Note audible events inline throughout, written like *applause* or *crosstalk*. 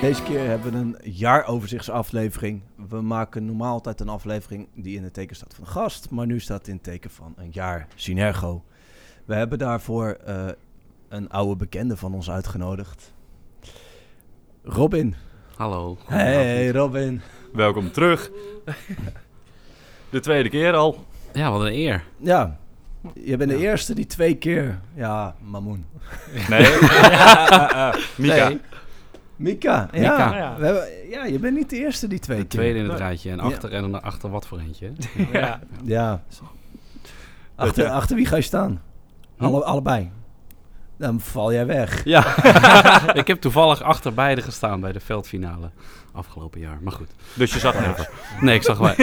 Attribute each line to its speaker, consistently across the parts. Speaker 1: Deze keer hebben we een jaaroverzichtsaflevering. We maken normaal altijd een aflevering die in het teken staat van een gast. Maar nu staat het in het teken van een jaar Synergo. We hebben daarvoor eh, een oude bekende van ons uitgenodigd. Robin.
Speaker 2: Hallo.
Speaker 1: Hey Robin.
Speaker 3: Welkom terug. De tweede keer al.
Speaker 2: Ja, wat een eer.
Speaker 1: Ja, je bent de eerste die twee keer... Ja, Mamoen. *laughs*
Speaker 3: Nee. *laughs* Mika.
Speaker 2: Nee,
Speaker 1: Mika. Ja,
Speaker 2: Mika.
Speaker 1: We hebben, ja je bent niet de eerste die twee
Speaker 2: de
Speaker 1: keer...
Speaker 2: tweede in het rijtje. En achter en dan achter wat voor eentje.
Speaker 4: *laughs* Ja.
Speaker 1: Ja. Achter, achter wie ga je Hm? staan? Alle, allebei. Dan val jij weg.
Speaker 2: Ja.
Speaker 1: *laughs*
Speaker 2: ik heb toevallig achter beide gestaan bij de veldfinale afgelopen jaar. Maar goed.
Speaker 3: Dus je zag niks.
Speaker 2: Nee, ik zag wel.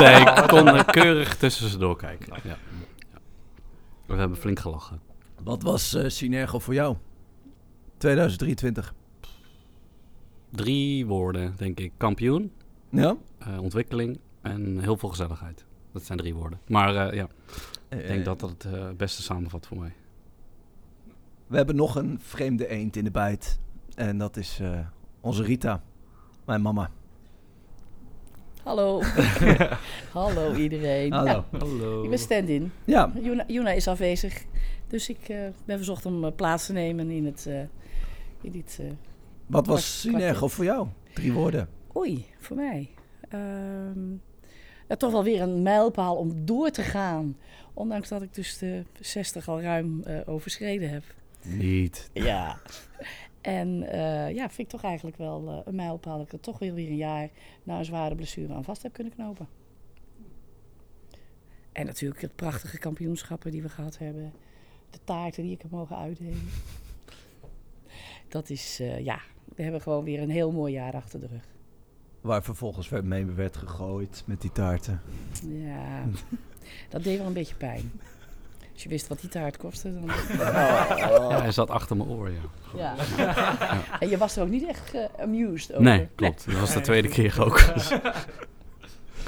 Speaker 2: Nee, ik kon er keurig tussen ze doorkijken. Ja. Ja. We hebben flink gelachen.
Speaker 1: Wat was eh Synergo voor jou? 2023.
Speaker 2: Drie woorden, denk ik. Kampioen,
Speaker 1: Ja?
Speaker 2: eh, ontwikkeling en heel veel gezelligheid. Dat zijn drie woorden. Maar eh, ja, ik denk dat dat het eh, beste samenvat voor mij.
Speaker 1: We hebben nog een vreemde eend in de bijt. En dat is eh, onze Rita. Mijn mama. *laughs*
Speaker 4: Hallo. Hallo iedereen. Nou,
Speaker 1: Hallo.
Speaker 2: Hallo.
Speaker 4: ik ben stand-in.
Speaker 1: Ja,
Speaker 4: Juna, Juna is afwezig. Dus ik eh, ben verzocht om eh, plaats te nemen in het... eh, in dit, eh,
Speaker 1: wat was
Speaker 4: Kwart-
Speaker 1: Synergo
Speaker 4: kwartet.
Speaker 1: voor jou? Drie woorden.
Speaker 4: oei, voor mij. Ehm, ja, toch wel weer een mijlpaal om door te gaan. Ondanks dat ik dus de 60 al ruim eh, overschreden heb.
Speaker 1: Niet.
Speaker 4: Ja. En eh, ja, vind ik toch eigenlijk wel eh, een mijlpaal dat ik er toch weer, weer een jaar na een zware blessure aan vast heb kunnen knopen. En natuurlijk het prachtige kampioenschappen die we gehad hebben. De taarten die ik heb mogen uitdelen. Dat is, eh, ja, we hebben gewoon weer een heel mooi jaar achter de rug.
Speaker 1: Waar vervolgens werd- mee werd gegooid met die *laughs* taarten.
Speaker 2: *laughs*
Speaker 4: Ja, dat deed wel een beetje pijn. Als je wist wat die taart kostte, dan...
Speaker 1: Oh.
Speaker 2: Ja, hij zat achter mijn oor, ja.
Speaker 4: Ja. En je was er ook niet echt eh, amused over.
Speaker 2: Nee, klopt. Dat was de tweede keer ook. *laughs* Dus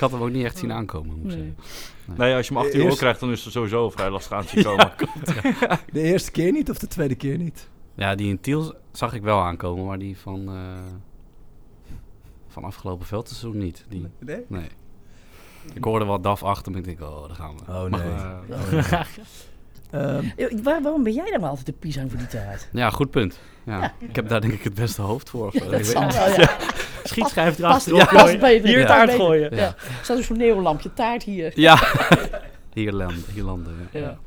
Speaker 2: ik had hem ook niet echt zien aankomen, moet ik
Speaker 4: Nee.
Speaker 2: zeggen.
Speaker 3: Nee, als je hem achter je
Speaker 1: Eerst-
Speaker 3: oor krijgt, dan is het sowieso al vrij
Speaker 2: *laughs*
Speaker 3: lastig aan te komen.
Speaker 1: De eerste keer niet of de tweede keer niet?
Speaker 2: Ja, die in Tiel zag ik wel aankomen, maar die van, eh, van afgelopen veldseizoen niet. Die,
Speaker 1: Nee?
Speaker 2: nee. Ik hoorde wat DAF achter me. Ik denk, oh, daar gaan we.
Speaker 1: Oh,
Speaker 2: Maar
Speaker 1: nee. Oh,
Speaker 2: goed, eh, *laughs*
Speaker 1: Ehm,
Speaker 4: Eh, waar- waarom ben jij dan wel altijd de pisang voor die taart?
Speaker 2: ja, goed punt. Ja, Ik heb daar denk ik het beste hoofd voor. of, eh, ik
Speaker 4: Dat
Speaker 2: weet
Speaker 4: zal
Speaker 2: niet.
Speaker 4: wel,
Speaker 2: *laughs*
Speaker 4: ja.
Speaker 5: Schietschijf
Speaker 4: Past,
Speaker 5: erachter.
Speaker 4: ja. past bij de
Speaker 5: Hier
Speaker 4: ja.
Speaker 5: taart
Speaker 4: bij-
Speaker 5: gooien.
Speaker 4: Ja. Er staat dus zo'n neonlampje taart hier. *laughs*
Speaker 2: ja. *laughs* Hier landen. Hier landen ja.
Speaker 4: Ja.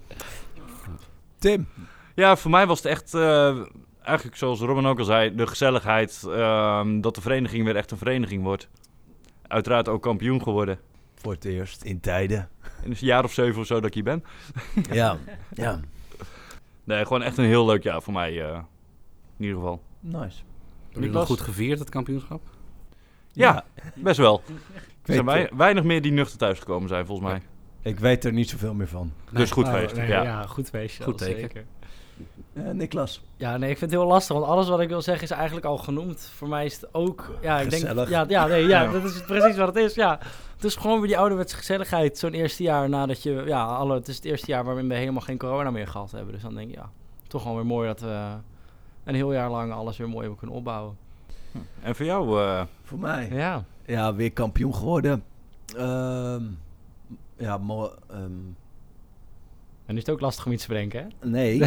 Speaker 1: Tim.
Speaker 3: Ja, voor mij was het echt, eh, eigenlijk zoals Robin ook al zei, de gezelligheid. ehm, dat de vereniging weer echt een vereniging wordt. Uiteraard ook kampioen geworden.
Speaker 1: Voor het eerst in tijden.
Speaker 3: In een jaar of zeven of zo dat ik hier ben.
Speaker 1: *laughs* Ja. ja.
Speaker 3: Nee, gewoon echt een heel leuk jaar voor mij. eh, in ieder geval.
Speaker 1: Nice.
Speaker 2: Heb je
Speaker 3: Niklas?
Speaker 2: nog goed gevierd, het kampioenschap?
Speaker 3: Ja, best wel. Er
Speaker 1: weet
Speaker 3: zijn wei-
Speaker 1: het.
Speaker 3: weinig meer die nuchter thuisgekomen zijn, volgens mij.
Speaker 1: Ik weet er niet zoveel meer van.
Speaker 3: Dus goed
Speaker 5: Oh,
Speaker 3: geweest.
Speaker 5: nee,
Speaker 3: ja.
Speaker 5: goed feestje.
Speaker 2: Goed
Speaker 5: dat
Speaker 2: teken.
Speaker 5: zeker.
Speaker 1: Eh, Niklas.
Speaker 5: Ja, nee, ik vind het heel lastig, want alles wat ik wil zeggen is eigenlijk al genoemd. Voor mij is het ook... Ja, ik denk,
Speaker 1: Gezellig.
Speaker 5: ja, ja, nee, ja,
Speaker 3: Ja.
Speaker 5: dat is precies wat het is, ja. Het is gewoon weer die ouderwetse gezelligheid. Zo'n eerste jaar nadat je... Ja, alle, het is het eerste jaar waarin we helemaal geen corona meer gehad hebben. Dus dan denk ik, ja, toch gewoon weer mooi dat we een heel jaar lang alles weer mooi hebben kunnen opbouwen.
Speaker 3: En voor jou, eh,
Speaker 1: Voor mij.
Speaker 5: Ja.
Speaker 1: Ja, weer kampioen geworden. Ehm, ja, mo- ehm,
Speaker 5: En nu is het ook lastig om iets te bedenken, hè? *laughs*
Speaker 1: nee.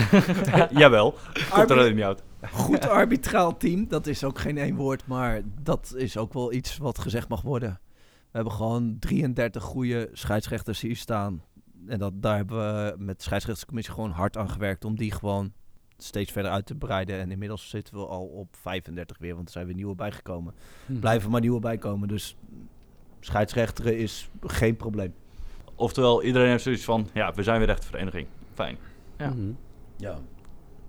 Speaker 3: jawel. Komt er
Speaker 1: Armin.
Speaker 3: alleen niet uit.
Speaker 1: Goed arbitraal team. Dat is ook geen één woord, maar dat is ook wel iets wat gezegd mag worden. We hebben gewoon 33 goede scheidsrechters hier staan. En dat, daar hebben we met de scheidsrechterscommissie gewoon hard aan gewerkt om die gewoon steeds verder uit te breiden. En inmiddels zitten we al op 35 weer, want er zijn weer nieuwe bijgekomen.
Speaker 2: Hm.
Speaker 1: Blijven maar nieuwe bijkomen, dus scheidsrechteren is geen probleem.
Speaker 3: Oftewel, iedereen heeft zoiets van, ja, we zijn weer echt een vereniging. Fijn.
Speaker 5: Ja.
Speaker 2: Mhm.
Speaker 1: Ja.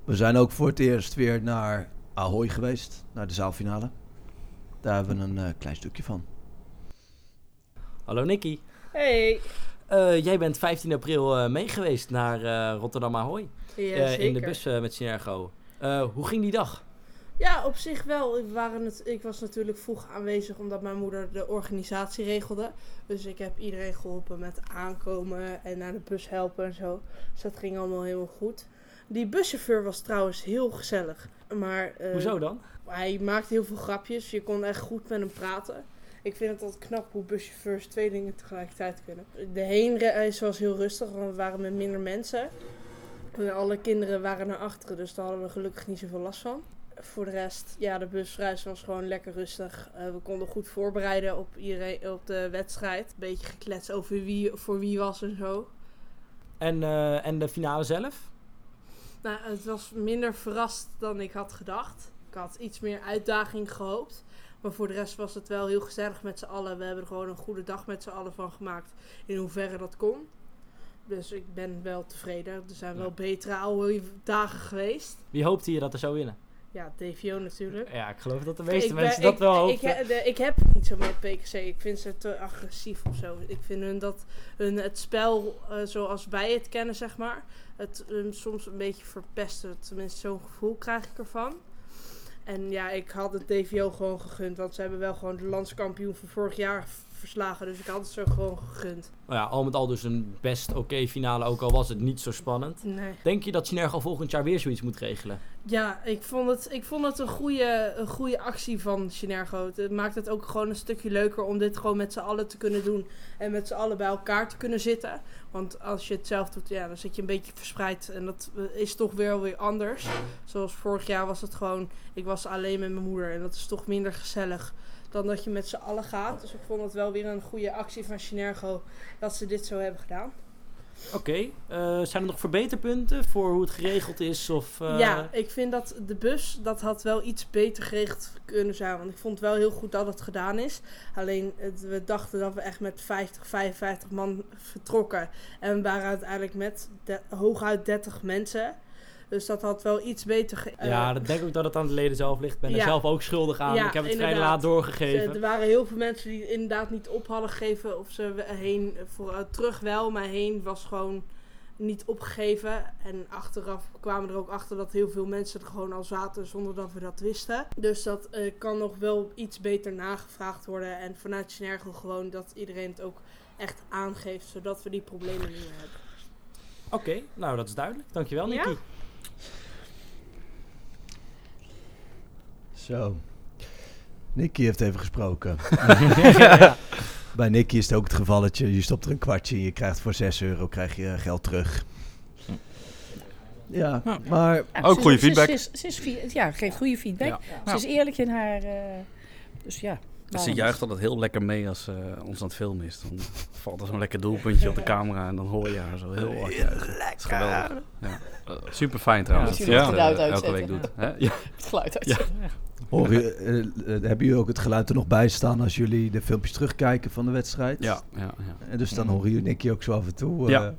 Speaker 1: We zijn ook voor het eerst weer naar Ahoy geweest, naar de zaalfinale. Daar hebben we een eh, klein stukje van.
Speaker 5: Hallo, Nicky.
Speaker 4: Hey.
Speaker 5: Eh, jij bent 15 april eh meegeweest naar eh, Rotterdam Ahoy.
Speaker 6: Ja,
Speaker 5: Eh,
Speaker 6: zeker.
Speaker 5: in de bus eh, met Synergo. Eh, hoe ging die dag?
Speaker 6: Ja, op zich wel. Ik, waren het, ik was natuurlijk vroeg aanwezig omdat mijn moeder de organisatie regelde. Dus ik heb iedereen geholpen met aankomen en naar de bus helpen en zo. Dus dat ging allemaal heel goed. Die buschauffeur was trouwens heel gezellig. Maar, eh,
Speaker 5: Hoezo dan?
Speaker 6: Hij maakte heel veel grapjes. Je kon echt goed met hem praten. Ik vind het altijd knap hoe buschauffeurs twee dingen tegelijkertijd kunnen. De heenreis was heel rustig, want we waren met minder mensen. En Eh, alle kinderen waren naar achteren, dus daar hadden we gelukkig niet zoveel last van. Voor de rest, ja, de busreis was gewoon lekker rustig. Eh, we konden goed voorbereiden op, iedereen, op de wedstrijd. Beetje gekletst over wie voor wie was en zo.
Speaker 5: En, eh, en de finale zelf?
Speaker 6: Nou, het was minder verrast dan ik had gedacht. Ik had iets meer uitdaging gehoopt. Maar voor de rest was het wel heel gezellig met z'n allen. We hebben er gewoon een goede dag met z'n allen van gemaakt. In hoeverre dat kon. Dus ik ben wel tevreden. Er zijn wel betere oude dagen geweest.
Speaker 5: Wie hoopte je dat er zou winnen?
Speaker 6: Ja, DVO natuurlijk.
Speaker 5: Ja, ik geloof dat de meeste
Speaker 6: Ik ben-
Speaker 5: mensen
Speaker 6: ik-
Speaker 5: dat wel
Speaker 6: ik,
Speaker 5: hoopten.
Speaker 6: he- de- ik heb het niet zo met PKC. Ik vind ze te agressief of zo. Ik vind hun dat hun het spel eh, zoals wij het kennen, zeg maar, het hun soms een beetje verpesten. Tenminste, zo'n gevoel krijg ik ervan. En ja, ik had het DVO gewoon gegund, want ze hebben wel gewoon de landskampioen van vorig jaar v- verslagen. Dus ik had het ze gewoon gegund.
Speaker 5: Nou ja, al met al dus een best oké finale, ook al was het niet zo spannend.
Speaker 6: Nee.
Speaker 5: Denk je dat Sinergo volgend jaar weer zoiets moet regelen?
Speaker 6: Ja, ik vond het, ik vond het een, goede, een goede actie van Sinergo. Het maakt het ook gewoon een stukje leuker om dit gewoon met z'n allen te kunnen doen. En met z'n allen bij elkaar te kunnen zitten. Want als je het zelf doet, ja, dan zit je een beetje verspreid. En dat eh, is toch weer weer anders. Zoals vorig jaar was het gewoon, ik was alleen met mijn moeder. En dat is toch minder gezellig dan dat je met z'n allen gaat. Dus ik vond het wel weer een goede actie van Sinergo dat ze dit zo hebben gedaan.
Speaker 5: Oké, eh, zijn er nog verbeterpunten voor hoe het geregeld is? Of, eh,
Speaker 6: Ja, ik vind dat de bus, dat had wel iets beter geregeld kunnen zijn. Want ik vond het wel heel goed dat het gedaan is. Alleen, het- we dachten dat we echt met 50, 55 man vertrokken. En we waren uiteindelijk met de- hooguit 30 mensen. Dus dat had wel iets beter... ge-
Speaker 5: ja,
Speaker 6: eh,
Speaker 5: dat denk ik dat het aan de leden zelf ligt. Ik ben er
Speaker 6: Ja.
Speaker 5: zelf ook schuldig aan.
Speaker 6: Ja,
Speaker 5: ik heb het vrij
Speaker 6: inderdaad.
Speaker 5: laat doorgegeven.
Speaker 6: Er waren heel veel mensen die het inderdaad niet op hadden gegeven. Of ze we- heen, voor, eh, terug wel, maar heen was gewoon niet opgegeven. En achteraf kwamen we er ook achter dat heel veel mensen er gewoon al zaten zonder dat we dat wisten. Dus dat eh, kan nog wel iets beter nagevraagd worden. En vanuit Synergo gewoon dat iedereen het ook echt aangeeft, zodat we die problemen niet meer hebben.
Speaker 5: Oké, nou dat is duidelijk. Dankjewel,
Speaker 6: Ja?
Speaker 5: Nicky.
Speaker 1: Zo. Nicky heeft even gesproken. Bij Nicky is het ook het gevalletje. Je stopt er een kwartje in, je krijgt voor 6 euro krijg je geld terug. Ja,
Speaker 2: Ja.
Speaker 1: maar
Speaker 4: Ja,
Speaker 3: Ook
Speaker 4: ze-
Speaker 3: goede
Speaker 4: ze-
Speaker 3: feedback.
Speaker 4: Ze, ze- ze is fi- ja, geeft goede feedback.
Speaker 2: Ja.
Speaker 4: Ze is eerlijk in haar... eh, dus ja.
Speaker 2: Ze
Speaker 4: waarom
Speaker 2: juicht altijd heel lekker mee als ze ons aan het filmen is. Dan valt er zo'n lekker doelpuntje op de camera en dan hoor je haar zo heel hard juichen. Dat is geweldig. Ja. super fijn trouwens.
Speaker 4: Ja,
Speaker 2: dat ze
Speaker 4: moet je
Speaker 2: dat,
Speaker 4: het
Speaker 2: eh,
Speaker 4: geluid
Speaker 2: elke week doet.
Speaker 4: uitzetten.
Speaker 2: Hè? Ja.
Speaker 4: het geluid uit.
Speaker 2: Ja.
Speaker 1: hoor je, eh, eh, hebben jullie ook het geluid er nog bij staan als jullie de filmpjes terugkijken van de wedstrijd?
Speaker 2: Ja, ja, ja.
Speaker 1: En dus dan horen jullie Nicky ook zo af en toe. eh,
Speaker 2: Ja.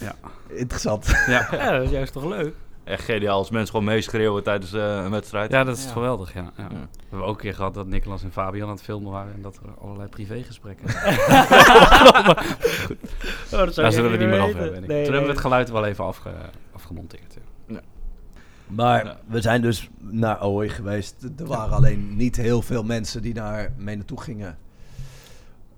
Speaker 2: Ja.
Speaker 1: Interessant.
Speaker 5: Ja, dat is juist toch leuk?
Speaker 3: Echt geniaal als mensen gewoon meeschreeuwen tijdens eh, een wedstrijd.
Speaker 2: Ja, dat is
Speaker 5: Ja.
Speaker 2: geweldig. Ja, ja.
Speaker 3: Ja.
Speaker 2: We hebben ook een keer gehad dat Nicolas en Fabian aan het filmen waren en dat er allerlei
Speaker 1: *laughs*
Speaker 2: privégesprekken. *laughs*
Speaker 5: Oh, dat
Speaker 2: Daar zullen we er niet meer af hebben.
Speaker 5: Nee,
Speaker 2: Toen
Speaker 5: nee.
Speaker 2: hebben we het geluid wel even afge- afgemonteerd. ja.
Speaker 1: Maar
Speaker 3: Ja.
Speaker 1: we zijn dus naar Ahoy geweest. Er waren alleen niet heel veel mensen die daar mee naartoe gingen.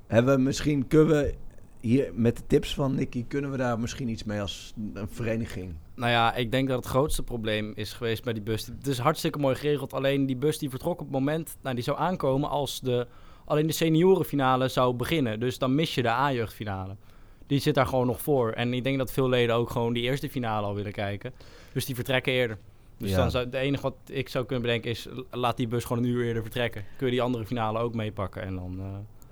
Speaker 1: Hebben we misschien, kunnen we hier met de tips van Nicky, kunnen we daar misschien iets mee als een vereniging?
Speaker 5: Nou ja, ik denk dat het grootste probleem is geweest bij die bus. Het is hartstikke mooi geregeld. Alleen die bus die vertrok op het moment, nou die zou aankomen als de, alleen de seniorenfinale zou beginnen. Dus dan mis je de A-jeugdfinale. Die zit daar gewoon nog voor. En ik denk dat veel leden ook gewoon die eerste finale al willen kijken. Dus die vertrekken eerder. Dus
Speaker 1: Ja.
Speaker 5: dan zou, het enige wat ik zou kunnen bedenken is, l- laat die bus gewoon een uur eerder vertrekken. Kun je die andere finale ook meepakken en dan... eh,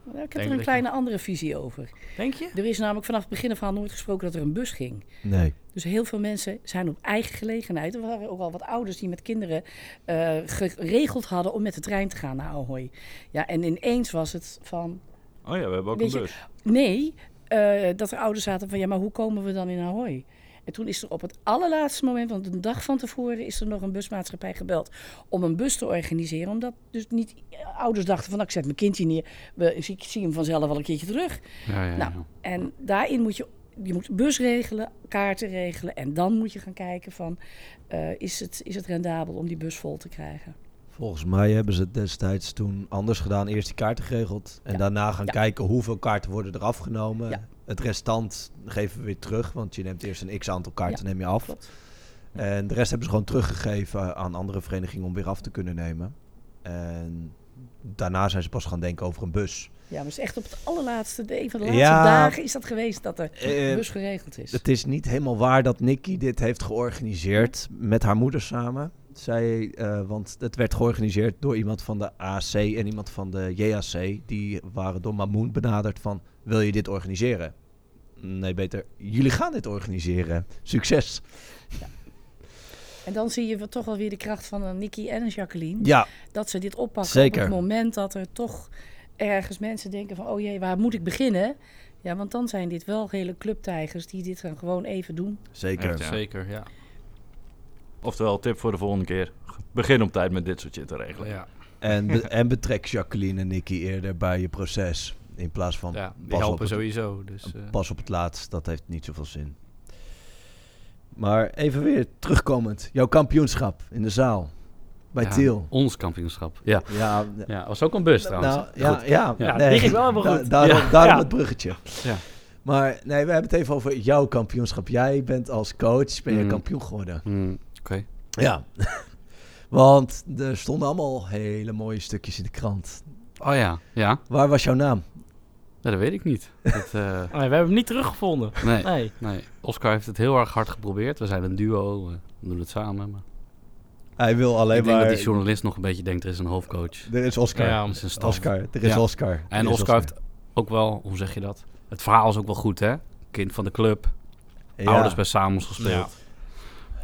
Speaker 4: Nou, ik heb
Speaker 2: Denk
Speaker 4: er
Speaker 2: dat
Speaker 4: een
Speaker 2: je-
Speaker 4: kleine andere visie over.
Speaker 5: Denk je?
Speaker 4: Er is namelijk vanaf het begin af aan nooit gesproken dat er een bus ging.
Speaker 1: Nee.
Speaker 4: Dus heel veel mensen zijn op eigen gelegenheid. Er waren ook al wat ouders die met kinderen eh, geregeld hadden om met de trein te gaan naar Ahoy. Ja, en ineens was het van.
Speaker 3: Oh ja, we hebben ook
Speaker 4: Weet
Speaker 3: een
Speaker 4: je-
Speaker 3: bus.
Speaker 4: Nee, eh, dat er ouders zaten van ja, maar hoe komen we dan in Ahoy? En toen is er op het allerlaatste moment, want een dag van tevoren is er nog een busmaatschappij gebeld om een bus te organiseren. Omdat dus niet eh, ouders dachten van nou, ik zet mijn kindje neer, we, ik zie hem vanzelf wel een keertje terug.
Speaker 2: Ja, ja,
Speaker 4: Nou,
Speaker 2: ja.
Speaker 4: En daarin moet je, je moet bus regelen, kaarten regelen. En dan moet je gaan kijken van, eh, is, het, is het rendabel om die bus vol te krijgen?
Speaker 1: Volgens mij hebben ze het destijds toen anders gedaan. Eerst die kaarten geregeld en
Speaker 4: Ja.
Speaker 1: daarna gaan
Speaker 4: Ja.
Speaker 1: kijken hoeveel kaarten worden er afgenomen.
Speaker 4: Ja.
Speaker 1: Het restant geven we weer terug, want je neemt eerst een x-aantal kaarten neem je af.
Speaker 4: Klopt.
Speaker 1: En de rest hebben ze gewoon teruggegeven aan andere verenigingen om weer af te kunnen nemen. En daarna zijn ze pas gaan denken over een bus.
Speaker 4: Ja, maar het is echt op het allerlaatste, de- een van de laatste
Speaker 1: Ja.
Speaker 4: dagen is dat geweest dat er
Speaker 1: Eh,
Speaker 4: een bus geregeld is.
Speaker 1: Het is niet helemaal waar dat Nikki dit heeft georganiseerd met haar moeder samen. Zij, eh, want het werd georganiseerd door iemand van de AC en iemand van de JAC. Die waren door Mamoen benaderd van, wil je dit organiseren? Nee, beter, jullie gaan dit organiseren. Succes.
Speaker 4: En dan zie je wel toch wel weer de kracht van een Nicky en een Jacqueline.
Speaker 1: Ja,
Speaker 4: Dat ze dit oppakken
Speaker 1: Zeker.
Speaker 4: op het moment dat er toch ergens mensen denken van... oh jee, waar moet ik beginnen? Ja, want dan zijn dit wel hele clubtijgers die dit dan gewoon even doen.
Speaker 1: zeker.
Speaker 3: Echt, ja.
Speaker 5: Zeker, ja.
Speaker 3: Oftewel, tip voor de volgende keer. Begin op tijd met dit soort shit te regelen.
Speaker 5: ja. *laughs*
Speaker 1: En, be- en betrek Jacqueline en Nicky eerder bij je proces. In plaats van
Speaker 5: ja die
Speaker 1: pas, op
Speaker 5: helpen
Speaker 1: het,
Speaker 5: sowieso. Dus, eh,
Speaker 1: pas op het laatst. Dat heeft niet zoveel zin. Maar even weer terugkomend. Jouw kampioenschap in de zaal. Bij
Speaker 2: Ja,
Speaker 1: Tiel.
Speaker 2: Ons kampioenschap. Ja.
Speaker 1: Ja,
Speaker 2: ja, was ook een bus trouwens.
Speaker 1: nou, ja, ja,
Speaker 2: Ja,
Speaker 5: die ging wel helemaal
Speaker 1: Da-
Speaker 5: goed.
Speaker 1: daarom
Speaker 2: Ja.
Speaker 1: daarom
Speaker 2: Ja.
Speaker 1: het bruggetje.
Speaker 2: Ja.
Speaker 1: Maar nee, we hebben het even over jouw kampioenschap. Jij bent als coach ben je
Speaker 5: Mhm.
Speaker 2: Mm.
Speaker 1: kampioen geworden.
Speaker 2: Hmm, Oké.
Speaker 1: Ja. *laughs* Want er stonden allemaal hele mooie stukjes in de krant.
Speaker 2: Oh ja, ja.
Speaker 1: Waar was jouw naam?
Speaker 2: Ja, dat weet ik niet. Dat,
Speaker 1: *laughs*
Speaker 2: eh,
Speaker 5: nee, we hebben hem niet teruggevonden.
Speaker 2: nee.
Speaker 5: Nee.
Speaker 2: Nee, Oscar heeft het heel erg hard geprobeerd. We zijn een duo, we doen het samen. Maar
Speaker 1: Hij wil alleen
Speaker 2: ik denk
Speaker 1: maar...
Speaker 2: dat die journalist nog een beetje denkt, er is een hoofdcoach.
Speaker 1: Er is Oscar.
Speaker 5: Ja,
Speaker 2: Er is een staf.
Speaker 1: Oscar. Er is
Speaker 2: Ja.
Speaker 1: Oscar. Er
Speaker 2: En
Speaker 1: is
Speaker 2: Oscar, heeft ook wel, hoe zeg je dat? Het verhaal is ook wel goed, hè? Kind van de club,
Speaker 1: Ja.
Speaker 2: ouders bij Samos gespeeld.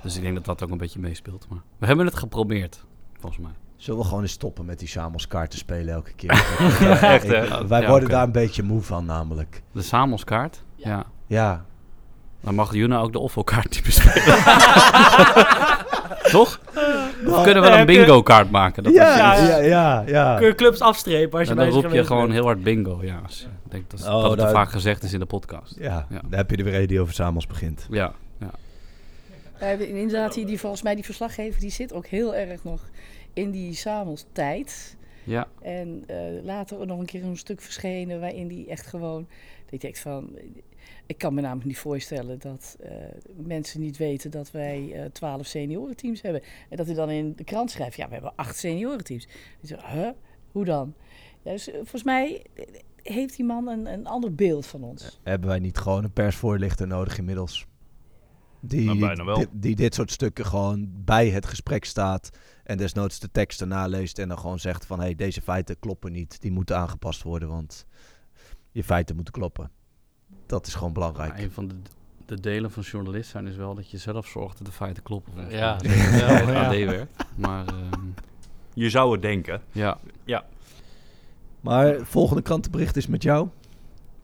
Speaker 2: Dus ik denk dat dat ook een beetje meespeelt. Maar we hebben het geprobeerd, volgens mij.
Speaker 1: Zullen we gewoon eens stoppen met die Samos kaarten spelen elke
Speaker 2: *laughs*
Speaker 1: keer?
Speaker 3: Echt,
Speaker 1: Ik-
Speaker 3: hè?
Speaker 1: wij
Speaker 2: Ja,
Speaker 1: worden
Speaker 2: oké.
Speaker 1: daar een beetje moe van namelijk.
Speaker 2: De Samos-kaart, ja.
Speaker 1: Ja.
Speaker 2: Dan mag Juna ook de Offo-kaart die bespelen. *laughs* Toch? Of kunnen we
Speaker 5: dan
Speaker 2: een
Speaker 5: heb je-
Speaker 2: bingo-kaart maken? Dat is
Speaker 1: Nou, ja,
Speaker 5: iets.
Speaker 1: ja, ja, ja.
Speaker 5: Kun je clubs afstrepen als je
Speaker 2: En dan
Speaker 5: bij ze
Speaker 2: roep je
Speaker 5: geweest
Speaker 2: gewoon
Speaker 5: bent?
Speaker 2: heel hard bingo. Ja, Dus ik denk dat,
Speaker 1: Oh,
Speaker 2: dat het
Speaker 1: daar-
Speaker 2: vaak gezegd is in de podcast.
Speaker 1: Ja,
Speaker 2: Ja.
Speaker 1: dan heb je er weer een die over Samos begint.
Speaker 2: Ja,
Speaker 4: We hebben inderdaad die, die volgens mij die verslaggever die zit ook heel erg nog in die Samos tijd.
Speaker 2: ja.
Speaker 4: En eh, later ook nog een keer een stuk verschenen waarin die echt gewoon. Dat ik denk van. Ik kan me namelijk niet voorstellen dat eh, mensen niet weten dat wij eh, twaalf seniorenteams hebben. En dat hij dan in de krant schrijft: ja, we hebben acht seniorenteams. Ik zeg, huh? Hoe dan? Ja, dus eh, volgens mij heeft die man een, een ander beeld van ons.
Speaker 1: Hebben wij niet gewoon een persvoorlichter nodig inmiddels? Die,
Speaker 3: Nou, bijna wel.
Speaker 1: di- die dit soort stukken gewoon bij het gesprek staat. En desnoods de teksten naleest. En dan gewoon zegt van, hé, hey, deze feiten kloppen niet. Die moeten aangepast worden, want je feiten moeten kloppen. Dat is gewoon belangrijk.
Speaker 2: Maar een van de, de delen van journalist zijn is wel dat je zelf zorgt dat de feiten kloppen. volgens
Speaker 5: Ja,
Speaker 2: mij. Dat is
Speaker 5: ja,
Speaker 2: wel *laughs* het
Speaker 5: ja.
Speaker 2: AD werkt. Maar ehm,
Speaker 3: Je zou het denken.
Speaker 2: ja.
Speaker 1: Maar volgende krantenbericht is met jou.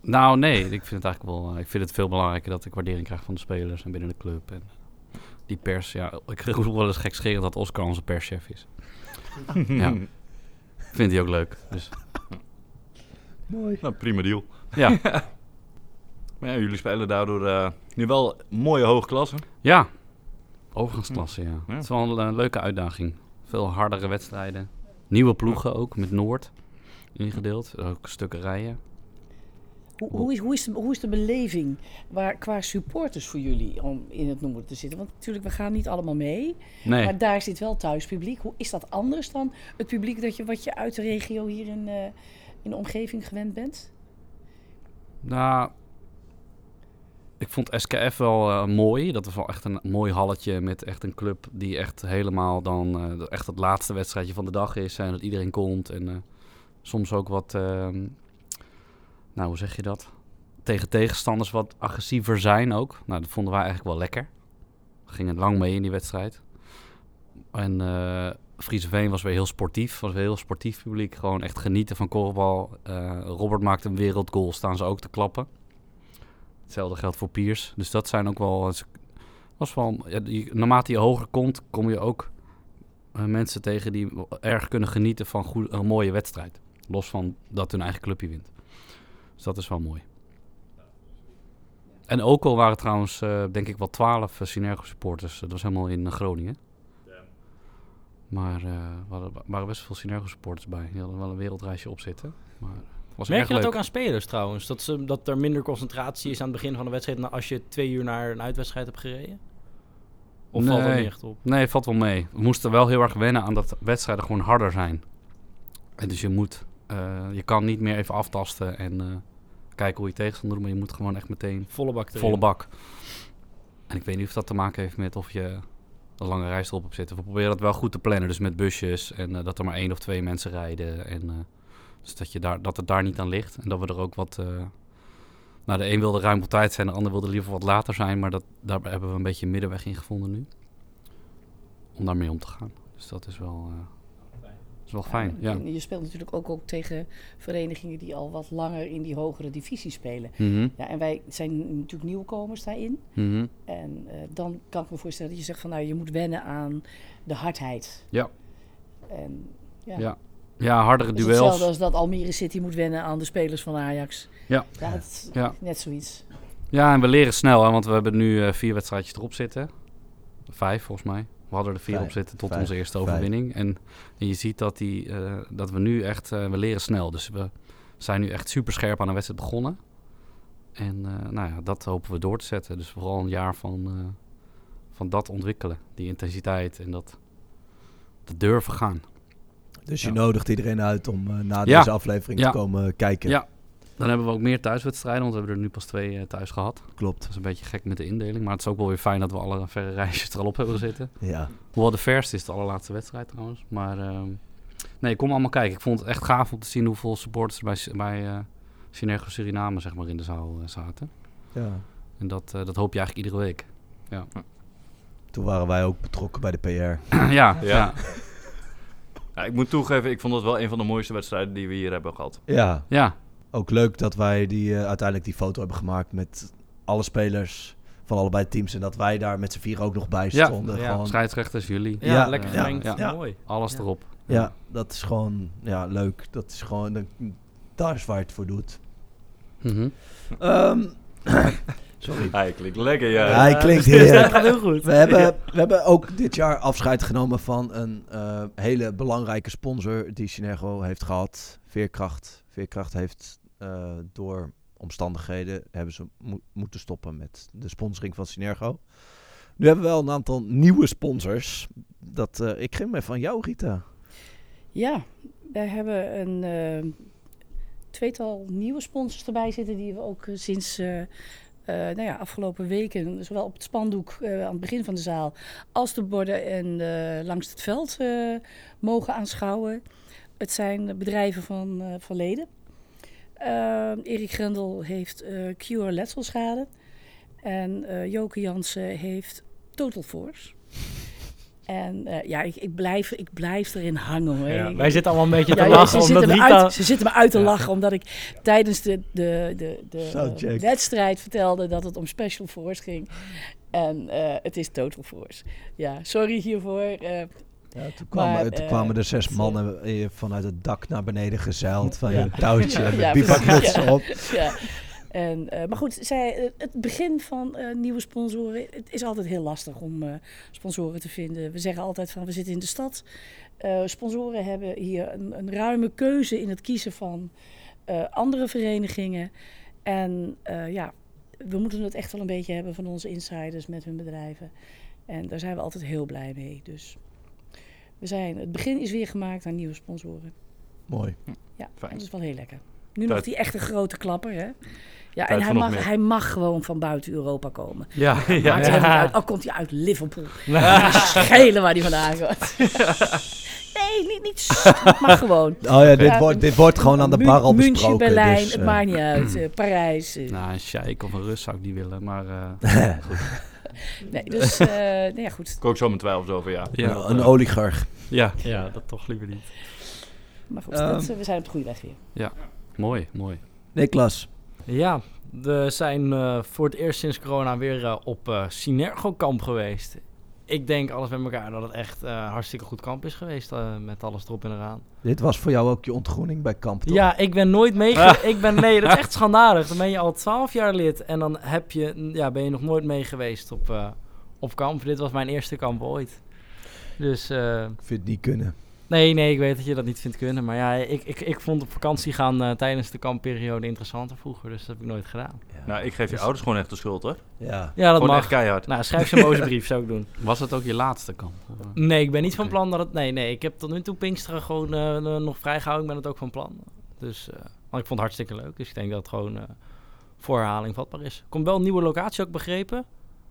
Speaker 2: Nou nee, ik vind het eigenlijk wel. eh, ik vind het veel belangrijker dat ik waardering krijg van de spelers en binnen de club. En eh, die pers, ja, ik *laughs* roep wel eens gekscherend dat Oscar onze perschef is. Ja. Vindt hij ook leuk. Dus
Speaker 1: Mooi.
Speaker 3: Nou, prima deal.
Speaker 2: ja,
Speaker 3: *laughs* Maar ja, jullie spelen daardoor eh, nu wel mooie hoogklassen.
Speaker 2: ja. Overgangsklasse, ja.
Speaker 3: Ja.
Speaker 2: Het is wel een, eh, leuke uitdaging. Veel hardere wedstrijden. Nieuwe ploegen ook, met Noord ingedeeld. Ook stukken rijden.
Speaker 4: Hoe, hoe, is, hoe, is de, hoe is de beleving waar, qua supporters voor jullie om in het noemen te zitten? Want natuurlijk, we gaan niet allemaal mee.
Speaker 2: Nee.
Speaker 4: Maar daar zit wel thuispubliek. Hoe is dat anders dan het publiek dat je, wat je uit de regio hier in, eh, in de omgeving gewend bent?
Speaker 2: Nou, ik vond SKF wel eh, mooi. Dat was wel echt een mooi halletje met echt een club die echt helemaal dan eh, dat echt het laatste wedstrijdje van de dag is. En dat iedereen komt en eh, soms ook wat, ehm, nou hoe zeg je dat? Tegen tegenstanders wat agressiever zijn ook. Nou, dat vonden wij eigenlijk wel lekker. We gingen lang mee in die wedstrijd. En eh Friese Veen was weer heel sportief. Was weer heel sportief publiek. Gewoon echt genieten van korfbal. Eh, Robert maakt een wereldgoal. Staan ze ook te klappen. Hetzelfde geldt voor Piers. Dus dat zijn ook wel... het Was wel ja, je- naarmate je hoger komt, kom je ook eh, mensen tegen die wel erg kunnen genieten van goe- een mooie wedstrijd. Los van dat hun eigen clubje wint. Dus dat is wel mooi. En ook al waren trouwens, eh, denk ik, wel twaalf eh, Synergo supporters. Dat was helemaal in eh, Groningen. Maar eh we hadden- er waren best veel Synergo supporters bij. Die hadden wel een wereldreisje op zitten. Maar het was
Speaker 5: Merk
Speaker 2: erg
Speaker 5: je dat
Speaker 2: leuk.
Speaker 5: ook aan spelers trouwens? Dat, ze, dat er minder concentratie is aan het begin van de wedstrijd... dan als je twee uur naar een uitwedstrijd hebt gereden? Of valt dat
Speaker 2: Nee.
Speaker 5: niet echt op?
Speaker 2: Nee, valt wel mee. We moesten wel heel erg wennen aan dat wedstrijden gewoon harder zijn. En dus je moet, eh, je kan niet meer even aftasten en eh, kijken hoe je tegenstander doet, maar je moet gewoon echt meteen
Speaker 5: Volle bak erin.
Speaker 2: volle bak. En ik weet niet of dat te maken heeft met of je een lange reis erop hebt zitten. We proberen dat wel goed te plannen, dus met busjes en eh, dat er maar één of twee mensen rijden. En, eh, dus dat, je daar, dat het daar niet aan ligt en dat we er ook wat... eh, nou, de een wilde ruim op tijd zijn, de ander wilde liever wat later zijn. Maar dat, daar hebben we een beetje een middenweg in gevonden nu. Om daarmee om te gaan. Dus dat is wel, eh, is wel fijn. Ja.
Speaker 4: En je speelt natuurlijk ook, ook tegen verenigingen die al wat langer in die hogere divisie spelen.
Speaker 2: Mhm,
Speaker 4: Ja, en wij zijn natuurlijk nieuwkomers daarin.
Speaker 2: mhm.
Speaker 4: En eh, dan kan ik me voorstellen dat je zegt van nou, je moet wennen aan de hardheid.
Speaker 2: Ja.
Speaker 4: En ja,
Speaker 2: Ja. Ja, hardere
Speaker 4: het is
Speaker 2: duels.
Speaker 4: hetzelfde als dat Almere City moet wennen aan de spelers van Ajax.
Speaker 2: Ja.
Speaker 4: ja, het is
Speaker 2: Ja.
Speaker 4: net zoiets.
Speaker 2: Ja, en we leren snel, hè, want we hebben nu eh, vier wedstrijdjes erop zitten. Vijf, volgens mij. We hadden er vier
Speaker 1: Vijf,
Speaker 2: op zitten tot
Speaker 1: vijf,
Speaker 2: onze eerste
Speaker 1: vijf.
Speaker 2: overwinning. En, en je ziet dat, die, eh, dat we nu echt... eh, we leren snel, dus we zijn nu echt super scherp aan de wedstrijd begonnen. En eh, nou ja, dat hopen we door te zetten. Dus vooral een jaar van, eh, van dat ontwikkelen. Die intensiteit en dat, dat durven gaan.
Speaker 1: Dus je
Speaker 2: Ja.
Speaker 1: nodigt iedereen uit om eh, na
Speaker 2: Ja.
Speaker 1: deze aflevering
Speaker 2: Ja.
Speaker 1: te komen eh, kijken.
Speaker 2: Ja. Dan hebben we ook meer thuiswedstrijden, want we hebben er nu pas twee eh, thuis gehad.
Speaker 1: Klopt.
Speaker 2: Dat is een beetje gek met de indeling, maar het is ook wel weer fijn dat we alle verre reisjes er al op hebben zitten.
Speaker 1: Ja.
Speaker 2: Hoewel de verste is de allerlaatste wedstrijd trouwens. Maar ehm, nee, kom allemaal kijken. Ik vond het echt gaaf om te zien hoeveel supporters er bij, S- bij eh Synergo Suriname zeg maar, in de zaal eh, zaten.
Speaker 1: ja.
Speaker 2: En dat, eh, dat hoop je eigenlijk iedere week.
Speaker 1: Toen waren wij ook betrokken bij de PR.
Speaker 2: *clears throat* ja, ja.
Speaker 3: Ja. Ja, ik moet toegeven, ik vond dat wel een van de mooiste wedstrijden die we hier hebben gehad.
Speaker 1: Ja.
Speaker 2: ja.
Speaker 1: Ook leuk dat wij die, eh, uiteindelijk die foto hebben gemaakt met alle spelers van allebei teams. En dat wij daar met z'n vier ook nog bij
Speaker 2: Ja,
Speaker 1: stonden.
Speaker 5: ja,
Speaker 1: gewoon,
Speaker 2: Scheidsrechters, jullie.
Speaker 5: Ja,
Speaker 1: Ja,
Speaker 5: lekker
Speaker 2: ja,
Speaker 5: gemengd.
Speaker 2: ja.
Speaker 1: Ja.
Speaker 5: Mooi.
Speaker 2: Alles
Speaker 5: Ja.
Speaker 2: erop.
Speaker 1: ja, dat is gewoon ja, leuk. Dat is gewoon, dan- daar is waar je het voor doet.
Speaker 2: Mhm.
Speaker 1: Ehm, sorry.
Speaker 3: Hij klinkt lekker, ja.
Speaker 1: Ja, hij
Speaker 5: *laughs*
Speaker 1: klinkt
Speaker 5: Dus Dat
Speaker 1: heerlijk.
Speaker 5: gaat heel goed.
Speaker 1: We hebben, we hebben ook dit jaar afscheid genomen van een eh, hele belangrijke sponsor die Synergo heeft gehad. Veerkracht. Veerkracht heeft eh, door omstandigheden hebben ze mo- moeten stoppen met de sponsoring van Synergo. Nu hebben we wel een aantal nieuwe sponsors. Dat, eh, ik ging me van jou, Rita.
Speaker 4: Ja, wij hebben een eh, tweetal nieuwe sponsors erbij zitten die we ook eh, sinds eh, eh, nou ja, afgelopen weken, zowel op het spandoek eh, aan het begin van de zaal als de borden en eh, langs het veld eh, mogen aanschouwen. Het zijn bedrijven van eh, verleden. Eh, Erik Grendel heeft eh, Cure Letselschade en eh, Joke Jansen heeft Total Force. En eh, ja, ik, ik, blijf, ik blijf erin hangen hoor.
Speaker 5: Ja,
Speaker 4: Ik-
Speaker 5: wij zitten allemaal een beetje te
Speaker 4: ja, ja,
Speaker 5: lachen
Speaker 4: ze,
Speaker 5: omdat
Speaker 4: zitten me
Speaker 5: Rita...
Speaker 4: uit, ze zitten me uit te
Speaker 5: Ja.
Speaker 4: lachen omdat ik tijdens de, de, de, de
Speaker 1: Soundcheck.
Speaker 4: eh, wedstrijd vertelde dat het om Special Force ging. En eh, het is Total Force. Ja, sorry hiervoor. eh,
Speaker 1: Ja, toen
Speaker 4: kwamen-
Speaker 1: kwamen,
Speaker 4: Maar, toen eh, kwamen
Speaker 1: er zes
Speaker 4: het, eh,
Speaker 1: mannen vanuit het dak naar beneden gezeild van
Speaker 4: Ja.
Speaker 1: een touwtje
Speaker 4: Ja,
Speaker 1: met
Speaker 4: ja,
Speaker 1: *laughs* ja,
Speaker 4: precies, ja.
Speaker 1: op.
Speaker 4: ja. En, eh, maar goed, zij, eh, het begin van eh, nieuwe sponsoren. Het is altijd heel lastig om eh, sponsoren te vinden. We zeggen altijd van we zitten in de stad. Eh, sponsoren hebben hier een, een ruime keuze in het kiezen van eh, andere verenigingen. En eh, ja, we moeten het echt wel een beetje hebben van onze insiders met hun bedrijven. En daar zijn we altijd heel blij mee. Dus we zijn, het begin is weer gemaakt aan nieuwe sponsoren.
Speaker 1: Mooi.
Speaker 4: Ja,
Speaker 3: Hm. Fijn.
Speaker 4: dat is wel heel lekker. Nu nog
Speaker 3: Tijd-
Speaker 4: die echte grote klapper, hè? Ja, en
Speaker 3: voor
Speaker 4: hij
Speaker 3: nog
Speaker 4: mag,
Speaker 3: meer.
Speaker 4: hij mag gewoon van buiten Europa komen.
Speaker 2: Ja.
Speaker 3: *laughs*
Speaker 4: Maakt er helemaal niet uit. Al komt hij uit Liverpool. *laughs* Ja. Schelen waar hij vandaan komt.
Speaker 3: *laughs*
Speaker 4: Nee, niet, niet. s- Het mag gewoon.
Speaker 1: Oh ja, dit,
Speaker 4: Ja,
Speaker 1: wordt, dit wordt gewoon aan de bar al
Speaker 4: Mün- München,
Speaker 1: besproken.
Speaker 4: Berlijn,
Speaker 1: dus,
Speaker 4: het
Speaker 1: eh,
Speaker 4: maakt niet uit.
Speaker 1: *clears throat*
Speaker 4: eh, Parijs. eh,
Speaker 2: Nou, een sheik of een Rus zou ik niet willen, maar... eh,
Speaker 1: *laughs*
Speaker 4: *laughs* Nee,
Speaker 2: *laughs*
Speaker 4: dus eh, nou ja, goed.
Speaker 3: Ik ook zo mijn twijfels over, ja.
Speaker 2: ja, dat,
Speaker 1: een
Speaker 2: eh,
Speaker 1: oligarch.
Speaker 2: ja. ja, dat toch liever niet.
Speaker 4: Maar goed,
Speaker 1: Ehm.
Speaker 4: dat, eh, we zijn op de goede weg weer.
Speaker 2: Mooi, mooi.
Speaker 1: Niklas.
Speaker 5: Ja, we zijn eh, voor het eerst sinds corona weer eh, op eh Synergo-kamp geweest. Ik denk alles met elkaar dat het echt eh, hartstikke goed kamp is geweest eh, met alles erop en eraan.
Speaker 1: Dit was voor jou ook je ontgroening bij kamp, toch? Ah.
Speaker 5: Ja, ik ben nooit meege... ik ben, nee, dat is
Speaker 1: *laughs*
Speaker 5: echt schandalig. Dan ben je al twaalf jaar lid en dan heb je, ja, ben je nog nooit mee geweest op, eh, op kamp. Dit was mijn eerste kamp ooit. Dus eh,
Speaker 1: Ik vind het niet kunnen.
Speaker 5: Nee, nee, ik weet dat je dat niet vindt kunnen. Maar ja, ik, ik, ik vond op vakantie gaan eh, tijdens de kampperiode interessanter vroeger. Dus dat heb ik nooit gedaan.
Speaker 1: Ja.
Speaker 3: Nou, ik geef je
Speaker 5: Dus-
Speaker 3: ouders gewoon echt de schuld, hoor.
Speaker 1: ja.
Speaker 5: Ja, dat
Speaker 3: gewoon
Speaker 5: mag.
Speaker 3: echt keihard.
Speaker 5: Nou, schrijf ze een boze brief, zou ik doen.
Speaker 2: *laughs* Was het ook je laatste kamp? Of,
Speaker 3: Mm.
Speaker 2: eh?
Speaker 5: Nee, ik ben niet van
Speaker 2: Oké.
Speaker 5: plan dat het... Nee, nee, ik heb tot nu toe Pinksteren gewoon eh, eh, nog vrijgehouden. Ik ben het ook van plan. Dus, eh, want ik vond het hartstikke leuk. Dus ik denk dat het gewoon eh, voor herhaling vatbaar is. Komt wel een nieuwe locatie, ook begrepen.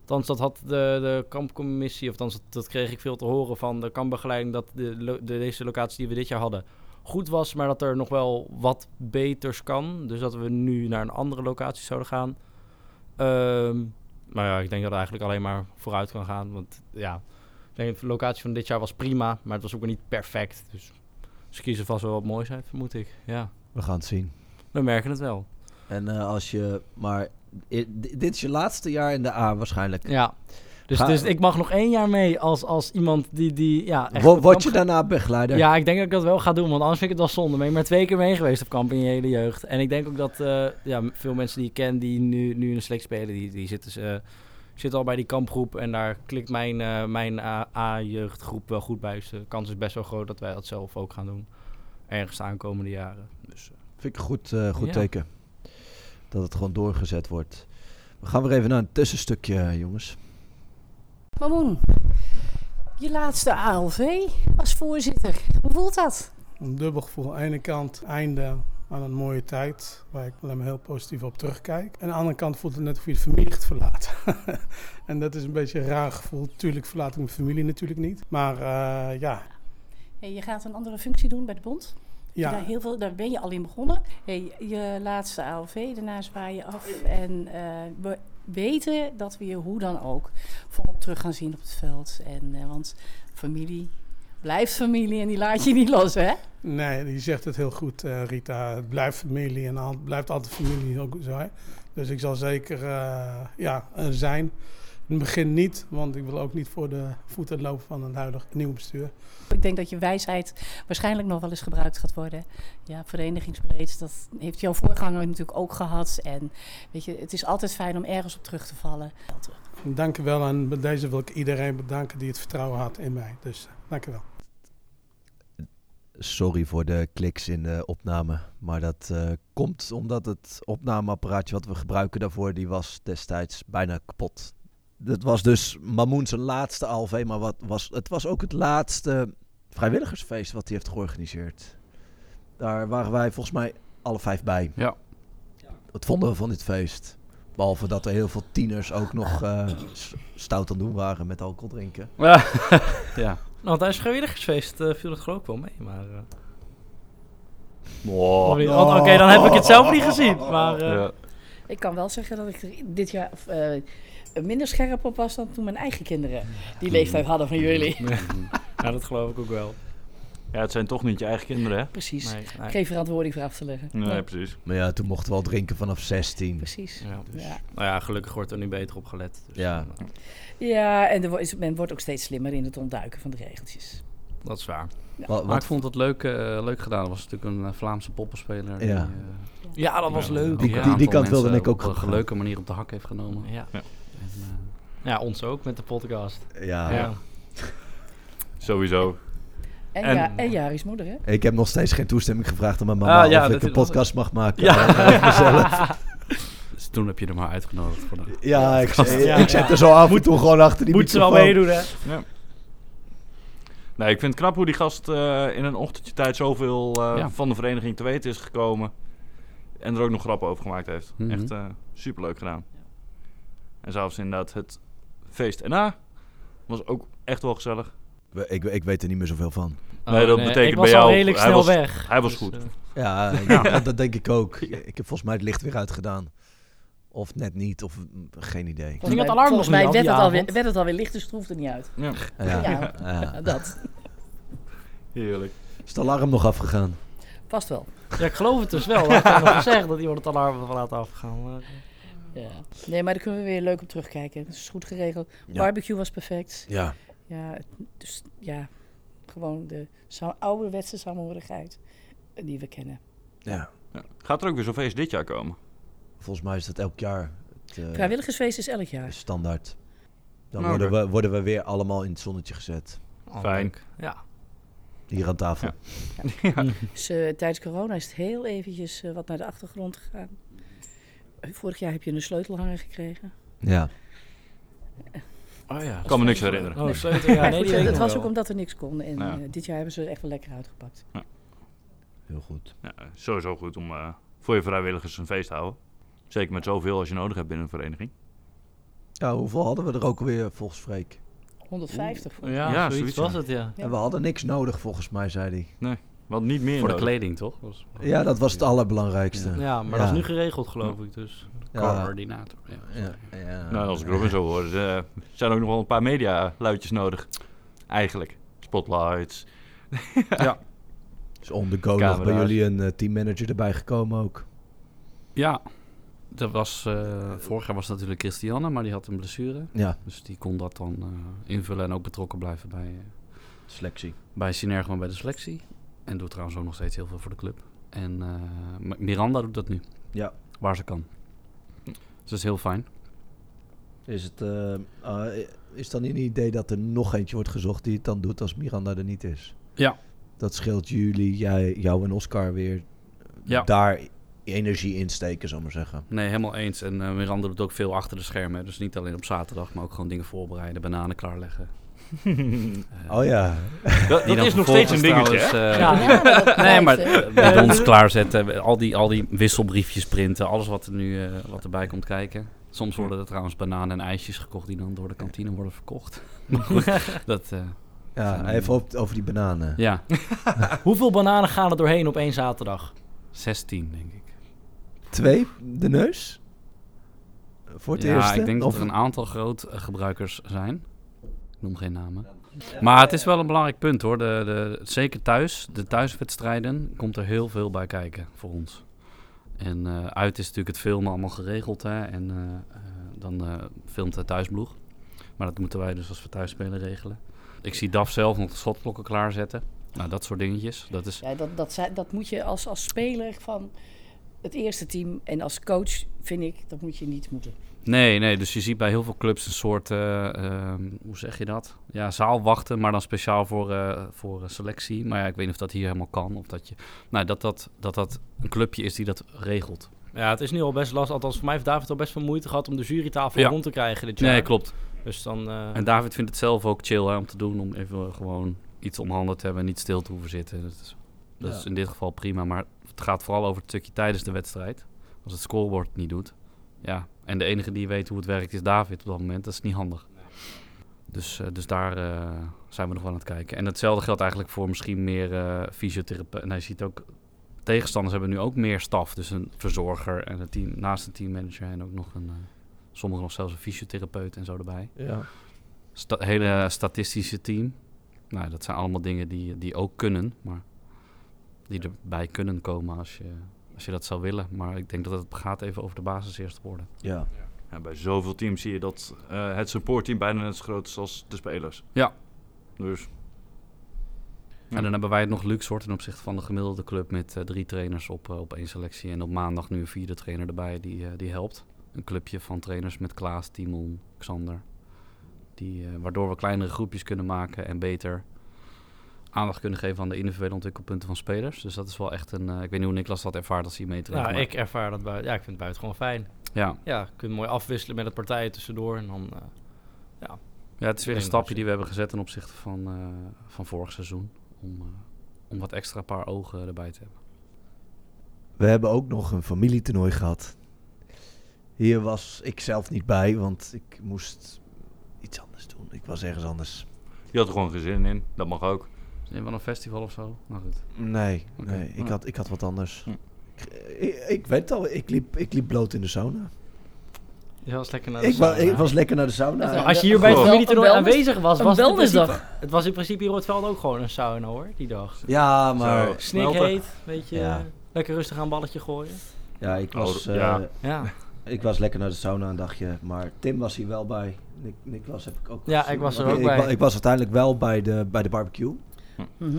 Speaker 5: Althans, dat had de, de kampcommissie... Of althans, dat, dat kreeg ik veel te horen van de kampbegeleiding... dat de, lo- de, deze locatie die we dit jaar hadden goed was... maar dat er nog wel wat beters kan. Dus dat we nu naar een andere locatie zouden gaan. Ehm, maar ja, ik denk dat het eigenlijk alleen maar vooruit kan gaan. Want ja, ik denk, de locatie van dit jaar was prima, maar het was ook weer niet perfect. Dus ze kiezen vast wel wat moois uit, vermoed ik. Ja,
Speaker 1: Ah. We gaan het zien.
Speaker 5: we merken het wel.
Speaker 1: En eh, als je... Maar i- di- dit is je laatste jaar in de A waarschijnlijk.
Speaker 5: Ja. Dus,
Speaker 1: Ga-
Speaker 5: dus ik mag nog één jaar mee als, als iemand die, die ja, echt
Speaker 1: Wo-
Speaker 5: op
Speaker 1: word je
Speaker 5: kamp
Speaker 1: daarna begeleider?
Speaker 5: gaat. Ja, ik denk dat ik dat wel ga doen, want anders vind ik het wel zonde. Ben je maar twee keer mee geweest op kamp in je hele jeugd. En ik denk ook dat eh, ja, m- veel mensen die ik ken die nu, nu in de select spelen, die, die zitten, ze, eh, zitten al bij die kampgroep. En daar klikt mijn, eh, mijn A- A-jeugdgroep wel goed bij. Dus de kans is best wel groot dat wij dat zelf ook gaan doen. Ergens de aankomende jaren. Dus
Speaker 1: Vind ik een goed, eh, goed
Speaker 5: Ja.
Speaker 1: teken. Dat het gewoon doorgezet wordt. We gaan weer even naar een tussenstukje, eh, jongens.
Speaker 4: Mamoen, je laatste ALV als voorzitter. Hoe voelt dat?
Speaker 7: Een dubbel gevoel. Aan de ene kant einde aan een mooie tijd, waar ik alleen maar heel positief op terugkijk. En aan de andere kant voelt het net of je de familie gaat verlaten. *laughs* en dat is een beetje een raar gevoel. Tuurlijk verlaat ik mijn familie natuurlijk niet. Maar eh, ja,
Speaker 4: Hey, je gaat een andere functie doen bij de bond.
Speaker 7: ja,
Speaker 4: Daar, heel veel, daar ben je al in begonnen. Hey, je laatste AOV, daarna zwaai je af. En eh, we weten dat we je hoe dan ook volop terug gaan zien op het veld. En, eh, want familie blijft familie en die laat je niet los, hè?
Speaker 7: nee, je zegt het heel goed, eh, Rita. Het blijft familie en al- het blijft altijd familie. Ook zo, hè. Dus ik zal zeker eh, ja, er zijn. In het begin niet, want ik wil ook niet voor de voeten lopen van het huidige nieuwe bestuur.
Speaker 4: Ik denk dat je wijsheid waarschijnlijk nog wel eens gebruikt gaat worden. Ja, verenigingsbreed, dat heeft jouw voorganger natuurlijk ook gehad. En weet je, het is altijd fijn om ergens op terug te vallen.
Speaker 7: Dank u wel en bij deze wil ik iedereen bedanken die het vertrouwen had in mij. Dus eh, dank u wel.
Speaker 1: Sorry voor de kliks in de opname. Maar dat eh, komt omdat het opnameapparaatje wat we gebruiken daarvoor... die was destijds bijna kapot. Dat was dus Mamoen zijn laatste ALV. Maar wat was, het was ook het laatste vrijwilligersfeest wat hij heeft georganiseerd. Daar waren wij volgens mij alle vijf bij.
Speaker 2: Ja.
Speaker 1: Wat vonden we van dit feest? Behalve dat er heel veel tieners ook nog eh, s- stout aan doen waren met alcohol drinken. *laughs*
Speaker 2: ja.
Speaker 5: Nou, tijdens het vrijwilligersfeest eh, viel het geloof ik wel mee, maar... eh, Oh,
Speaker 3: Wow.
Speaker 5: Oké,
Speaker 1: Oh.
Speaker 5: dan heb ik het zelf niet gezien, maar... eh,
Speaker 3: Ja.
Speaker 4: Ik kan wel zeggen dat ik er dit jaar of, eh, minder scherp op was dan toen mijn eigen kinderen die leeftijd hadden van jullie.
Speaker 5: *laughs* ja, dat geloof ik ook wel.
Speaker 3: ja, het zijn toch niet je eigen kinderen, hè?
Speaker 4: *laughs* Precies.
Speaker 5: Nee, nee.
Speaker 4: Geen verantwoording voor af te leggen.
Speaker 3: Nee,
Speaker 4: Nee,
Speaker 3: precies. dus-
Speaker 1: Maar ja, toen mochten we al drinken vanaf 16.
Speaker 4: Precies.
Speaker 5: Ja.
Speaker 4: Ja.
Speaker 5: Nou ja, gelukkig wordt er nu beter op gelet. Dus
Speaker 1: Ja.
Speaker 5: eh,
Speaker 4: ja, en er wo- is- men wordt ook steeds slimmer in het ontduiken van de regeltjes.
Speaker 3: Oh,
Speaker 5: dat is waar.
Speaker 1: Wa-
Speaker 2: Maar ik
Speaker 1: wat,
Speaker 2: vond het leuk, eh, leuk gedaan. Er was natuurlijk een eh, Vlaamse poppenspeler. die,
Speaker 1: Ja.
Speaker 2: eh,
Speaker 5: Ja, dat was
Speaker 2: ja,
Speaker 5: leuk.
Speaker 2: ook
Speaker 1: Die-
Speaker 2: een
Speaker 1: die-
Speaker 2: aantal
Speaker 1: die kant wilde
Speaker 2: mensen
Speaker 1: ik ook
Speaker 2: op een
Speaker 1: gaan.
Speaker 2: leuke manier op de hak heeft genomen.
Speaker 5: Ja.
Speaker 2: En, eh,
Speaker 5: ja, ons ook met de podcast.
Speaker 1: ja.
Speaker 5: Ja.
Speaker 3: Sowieso.
Speaker 4: En,
Speaker 3: En-
Speaker 4: ja, en Jari's moeder, hè?
Speaker 1: Ik heb nog steeds geen toestemming gevraagd aan mijn mama
Speaker 2: Ah, ja,
Speaker 1: of ik
Speaker 2: dat
Speaker 1: een
Speaker 2: is- dat-
Speaker 1: podcast mag maken. Ja,
Speaker 2: dus toen heb je er maar uitgenodigd voor de...
Speaker 1: ja, ik, zit-
Speaker 5: Ja.
Speaker 1: ik zit er zo af en toe gewoon achter die
Speaker 5: Moet ze wel
Speaker 1: microfoon.
Speaker 5: meedoen, hè?
Speaker 3: Nee, ik vind het knap hoe die gast eh, in een ochtendje tijd zoveel eh,
Speaker 2: Ja.
Speaker 3: van de vereniging te weten is gekomen. En er ook nog grappen over gemaakt heeft.
Speaker 2: Mhm.
Speaker 3: Echt eh, superleuk gedaan. En zelfs inderdaad het feest erna was ook echt wel gezellig.
Speaker 1: We- Ik, ik weet er niet meer zoveel van.
Speaker 3: Nee, dat betekent
Speaker 5: ik
Speaker 3: bij
Speaker 5: was al
Speaker 3: jou-
Speaker 5: redelijk
Speaker 3: hij
Speaker 5: snel
Speaker 3: was-
Speaker 5: weg.
Speaker 3: Hij was
Speaker 5: Dus,
Speaker 3: goed.
Speaker 5: eh,
Speaker 1: Ja, dat- dat denk ik ook. Ik heb volgens mij het licht weer uitgedaan. Of net niet, of mm, geen idee.
Speaker 5: Ging het
Speaker 4: mij-
Speaker 5: alarm
Speaker 4: volgens
Speaker 5: nog
Speaker 4: mij
Speaker 5: niet af
Speaker 4: werd
Speaker 5: die
Speaker 4: het, alweer,
Speaker 5: avond?
Speaker 4: werd het alweer licht, dus het hoefde niet uit.
Speaker 1: Ja.
Speaker 4: *laughs* Ja.
Speaker 1: Ja.
Speaker 4: Dat,
Speaker 3: Heerlijk.
Speaker 1: Is het alarm nog afgegaan?
Speaker 4: vast wel.
Speaker 5: ja, ik geloof het dus wel. Dat had
Speaker 1: *laughs*
Speaker 5: nog gezegd dat iemand het alarm had laten afgaan. maar, eh,
Speaker 4: Ja. Nee, maar daar kunnen we weer leuk op terugkijken. Het is goed geregeld.
Speaker 1: Ja.
Speaker 4: Barbecue was perfect.
Speaker 1: Ja.
Speaker 4: Ja, het- dus ja, gewoon de sa- ouderwetse samenhorigheid die we kennen.
Speaker 1: ja.
Speaker 3: Ja. Gaat er ook weer zo'n feest dit jaar komen?
Speaker 1: Volgens mij is dat elk jaar het, eh,
Speaker 4: Vrijwilligersfeest is elk jaar.
Speaker 1: standaard. Dan
Speaker 3: Nou,
Speaker 1: worden we, worden we weer allemaal in het zonnetje gezet.
Speaker 5: oh,
Speaker 3: Fijn.
Speaker 5: leuk. Ja.
Speaker 1: Hier aan tafel.
Speaker 4: Dus, eh, tijdens corona is het heel eventjes eh, wat naar de achtergrond gegaan. Eh, Vorig jaar heb je een sleutelhanger gekregen.
Speaker 1: Ja.
Speaker 5: Oh ja.
Speaker 3: kan me niks herinneren.
Speaker 5: Oh, sleutel. Ja,
Speaker 4: Maar
Speaker 5: nee,
Speaker 4: goed,
Speaker 5: die
Speaker 4: eh,
Speaker 5: weet
Speaker 4: het
Speaker 5: ik nog
Speaker 4: was
Speaker 5: wel. Nou
Speaker 4: ook omdat er niks kon. En
Speaker 3: Ja.
Speaker 4: eh, dit jaar hebben ze het echt wel lekker uitgepakt.
Speaker 1: heel goed.
Speaker 3: Ja, sowieso goed om eh, voor je vrijwilligers een feest te houden. Zeker met zoveel als je nodig hebt binnen een vereniging.
Speaker 1: Ja, hoeveel hadden we er ook weer volgens Freek?
Speaker 4: 150 voor
Speaker 5: Ja,
Speaker 3: Ja,
Speaker 5: zoiets,
Speaker 3: zoiets,
Speaker 5: was
Speaker 3: ja.
Speaker 5: het, ja.
Speaker 4: Ja.
Speaker 1: En we hadden niks nodig volgens mij, zei hij.
Speaker 3: Want niet meer
Speaker 2: Voor de
Speaker 3: nodig.
Speaker 2: kleding, toch? Was-
Speaker 1: Ja, dat was het allerbelangrijkste. Ja.
Speaker 5: Ja, maar dat
Speaker 1: Ja.
Speaker 5: is nu geregeld, geloof ik. Dus.
Speaker 1: Ja.
Speaker 2: Coördinator. Ja.
Speaker 1: ja.
Speaker 3: Nou, als ik Robin zo hoor, eh, zijn ook nog wel een paar media-luidjes nodig. Eigenlijk. Spotlights. *laughs*
Speaker 1: Is Dus on the go nog bij
Speaker 3: Camera's.
Speaker 1: jullie een eh, teammanager erbij gekomen ook.
Speaker 2: Ja, dat was, eh, vorig jaar was dat natuurlijk Christiane, maar die had een blessure.
Speaker 1: Ja,
Speaker 2: Dus die kon dat dan eh, invullen en ook betrokken blijven bij, eh,
Speaker 1: selectie.
Speaker 2: bij Synergo en bij de selectie. En doet trouwens ook nog steeds heel veel voor de club. En eh, M- Miranda doet dat nu.
Speaker 1: Ja.
Speaker 2: Waar ze kan. Dus dat is heel fijn.
Speaker 1: Is het eh, eh, is dan een idee dat er nog eentje wordt gezocht die het dan doet als Miranda er niet is?
Speaker 2: Ja.
Speaker 1: Dat scheelt jullie, jij, jou en Oscar weer eh,
Speaker 2: Ja.
Speaker 1: daar energie in steken, zal ik maar zeggen.
Speaker 2: Nee, helemaal eens. En eh, Miranda doet ook veel achter de schermen. hè. Dus niet alleen op zaterdag, maar ook gewoon dingen voorbereiden, bananen klaarleggen.
Speaker 1: *laughs* Oh ja.
Speaker 3: Eh, Dat, dat
Speaker 2: dan
Speaker 3: is nog steeds een
Speaker 2: vervolgens
Speaker 3: dingetje, hè?
Speaker 2: trouwens, eh,
Speaker 4: Ja, maar
Speaker 5: *laughs*
Speaker 4: dat blijft,
Speaker 2: Nee, maar
Speaker 4: hè.
Speaker 2: eh, bidons klaarzetten, al die, al die wisselbriefjes printen, alles wat er nu eh, wat erbij komt kijken. Soms worden er trouwens bananen en ijsjes gekocht die dan door de kantine worden verkocht. *laughs* Maar goed, dat, eh,
Speaker 1: ja even op, over die bananen.
Speaker 2: ja,
Speaker 1: *laughs*
Speaker 5: Hoeveel bananen gaan er doorheen op één zaterdag?
Speaker 2: 16 denk ik.
Speaker 1: Twee, de neus. Voor het
Speaker 2: ja,
Speaker 1: eerst.
Speaker 2: ik denk dat er een aantal groot eh, gebruikers zijn. Ik noem geen namen. Maar het is wel een belangrijk punt hoor. De, de, zeker thuis, de thuiswedstrijden, komt er heel veel bij kijken voor ons. En eh, uit is natuurlijk het filmen allemaal geregeld. Hè? En eh, eh, dan eh, filmt de thuisploeg. Maar dat moeten wij dus als we thuis spelen regelen. Ik zie DAF zelf nog de schotblokken klaarzetten. Nou, dat soort dingetjes. Dat is,
Speaker 4: Ja, dat, dat, zei- dat moet je als, als speler van het eerste team en als coach, vind ik, dat moet je niet moeten.
Speaker 2: Nee, nee, dus je ziet bij heel veel clubs een soort, eh, ehm, hoe zeg je dat? Ja, zaalwachten, maar dan speciaal voor, eh, voor eh, selectie. Maar ja, ik weet niet of dat hier helemaal kan. Of dat, je, nou, dat, dat, dat dat een clubje is die dat regelt.
Speaker 5: Ja, het is nu al best lastig. Althans, voor mij heeft David al best veel moeite gehad om de jurytafel
Speaker 2: Ja.
Speaker 5: rond te krijgen dit jaar.
Speaker 2: Nee, klopt.
Speaker 5: Dus dan... eh,
Speaker 2: En David vindt het zelf ook chill hè, om te doen, om even eh, gewoon iets om handen te hebben en niet stil te hoeven zitten. Dat is, dat
Speaker 1: Ja.
Speaker 2: is in dit geval prima, maar het gaat vooral over het stukje tijdens de wedstrijd. Als het scorebord het niet doet. Ja, en de enige die weet hoe het werkt is David op dat moment. Dat is niet handig. Dus, eh, dus daar eh, zijn we nog wel aan het kijken. En hetzelfde geldt eigenlijk voor misschien meer eh fysiotherapeuten. En je ziet ook, tegenstanders hebben nu ook meer staf. Dus een verzorger en een team, naast een teammanager en ook nog een... eh, sommigen nog zelfs een fysiotherapeut en zo erbij
Speaker 1: Ja.
Speaker 2: sta- hele statistische team. Nou, dat zijn allemaal dingen die, die ook kunnen, maar die erbij kunnen komen als je, als je dat zou willen. Maar ik denk dat het gaat even over de basis eerst worden.
Speaker 1: ja.
Speaker 3: Ja, bij zoveel teams zie je dat eh, het supportteam bijna net zo groot is als de spelers.
Speaker 2: Ja.
Speaker 3: Dus Ja.
Speaker 2: En dan hebben wij het nog luxe hoor, ten opzichte van de gemiddelde club met eh, drie trainers op, eh, op één selectie. En op maandag nu een vierde trainer erbij die, eh, die helpt. Een clubje van trainers met Klaas, Timon, Xander. Die, eh, waardoor we kleinere groepjes kunnen maken en beter aandacht kunnen geven aan de individuele ontwikkelpunten van spelers. Dus dat is wel echt een... eh, ik weet niet hoe Niklas dat ervaart als hij meetraint.
Speaker 5: nou,
Speaker 2: maar-
Speaker 5: ik ervaar dat buiten. Ja, ik vind het buiten gewoon fijn.
Speaker 2: Ja.
Speaker 5: Ja, je kunt mooi afwisselen met het partijen tussendoor. En dan, eh,
Speaker 2: ja, het is weer een
Speaker 5: Trainers,
Speaker 2: stapje
Speaker 5: ja.
Speaker 2: die we hebben gezet ten opzichte van, eh, van vorig seizoen. Om, eh, om wat extra paar ogen erbij te hebben.
Speaker 1: We hebben ook nog een familietoernooi gehad. Hier was ik zelf niet bij, want ik moest iets anders doen. Ik was ergens anders.
Speaker 3: je had er gewoon geen zin in. Dat mag ook.
Speaker 2: Is er wel een festival of zo? Nou goed.
Speaker 1: Nee,
Speaker 2: Oké.
Speaker 1: nee ik,
Speaker 2: Ah.
Speaker 1: had, ik had wat anders.
Speaker 3: Hm.
Speaker 1: Ik, ik, ik weet het al, ik liep, ik liep bloot in de sauna.
Speaker 5: je was lekker naar de
Speaker 1: Ik, wa-
Speaker 5: sauna.
Speaker 1: ik was lekker naar de sauna.
Speaker 4: Ja,
Speaker 5: Nou, als je hier
Speaker 4: Een
Speaker 5: bij het
Speaker 4: wel-
Speaker 5: familietoernooi
Speaker 4: een wellness-
Speaker 5: aanwezig was,
Speaker 4: een
Speaker 5: was het, in principe-
Speaker 4: wellnessdag.
Speaker 5: het was in principe hier op het veld ook gewoon een sauna hoor, die dag.
Speaker 1: Ja, maar...
Speaker 3: Zo. Smelten.
Speaker 5: Snikheet, weet je,
Speaker 1: Ja.
Speaker 5: lekker rustig aan een balletje gooien.
Speaker 1: Ja, ik was,
Speaker 3: Oh,
Speaker 1: eh,
Speaker 3: ja.
Speaker 5: Ja,
Speaker 1: ik was lekker naar de sauna een dagje, maar Tim was hier wel bij. Nik, Niklas heb ik ook
Speaker 5: Ja,
Speaker 1: gezien.
Speaker 5: ik was er
Speaker 1: Maar
Speaker 5: ook
Speaker 1: wa-
Speaker 5: bij.
Speaker 1: Ik, was uiteindelijk wel bij de, bij de barbecue.
Speaker 4: Mhm.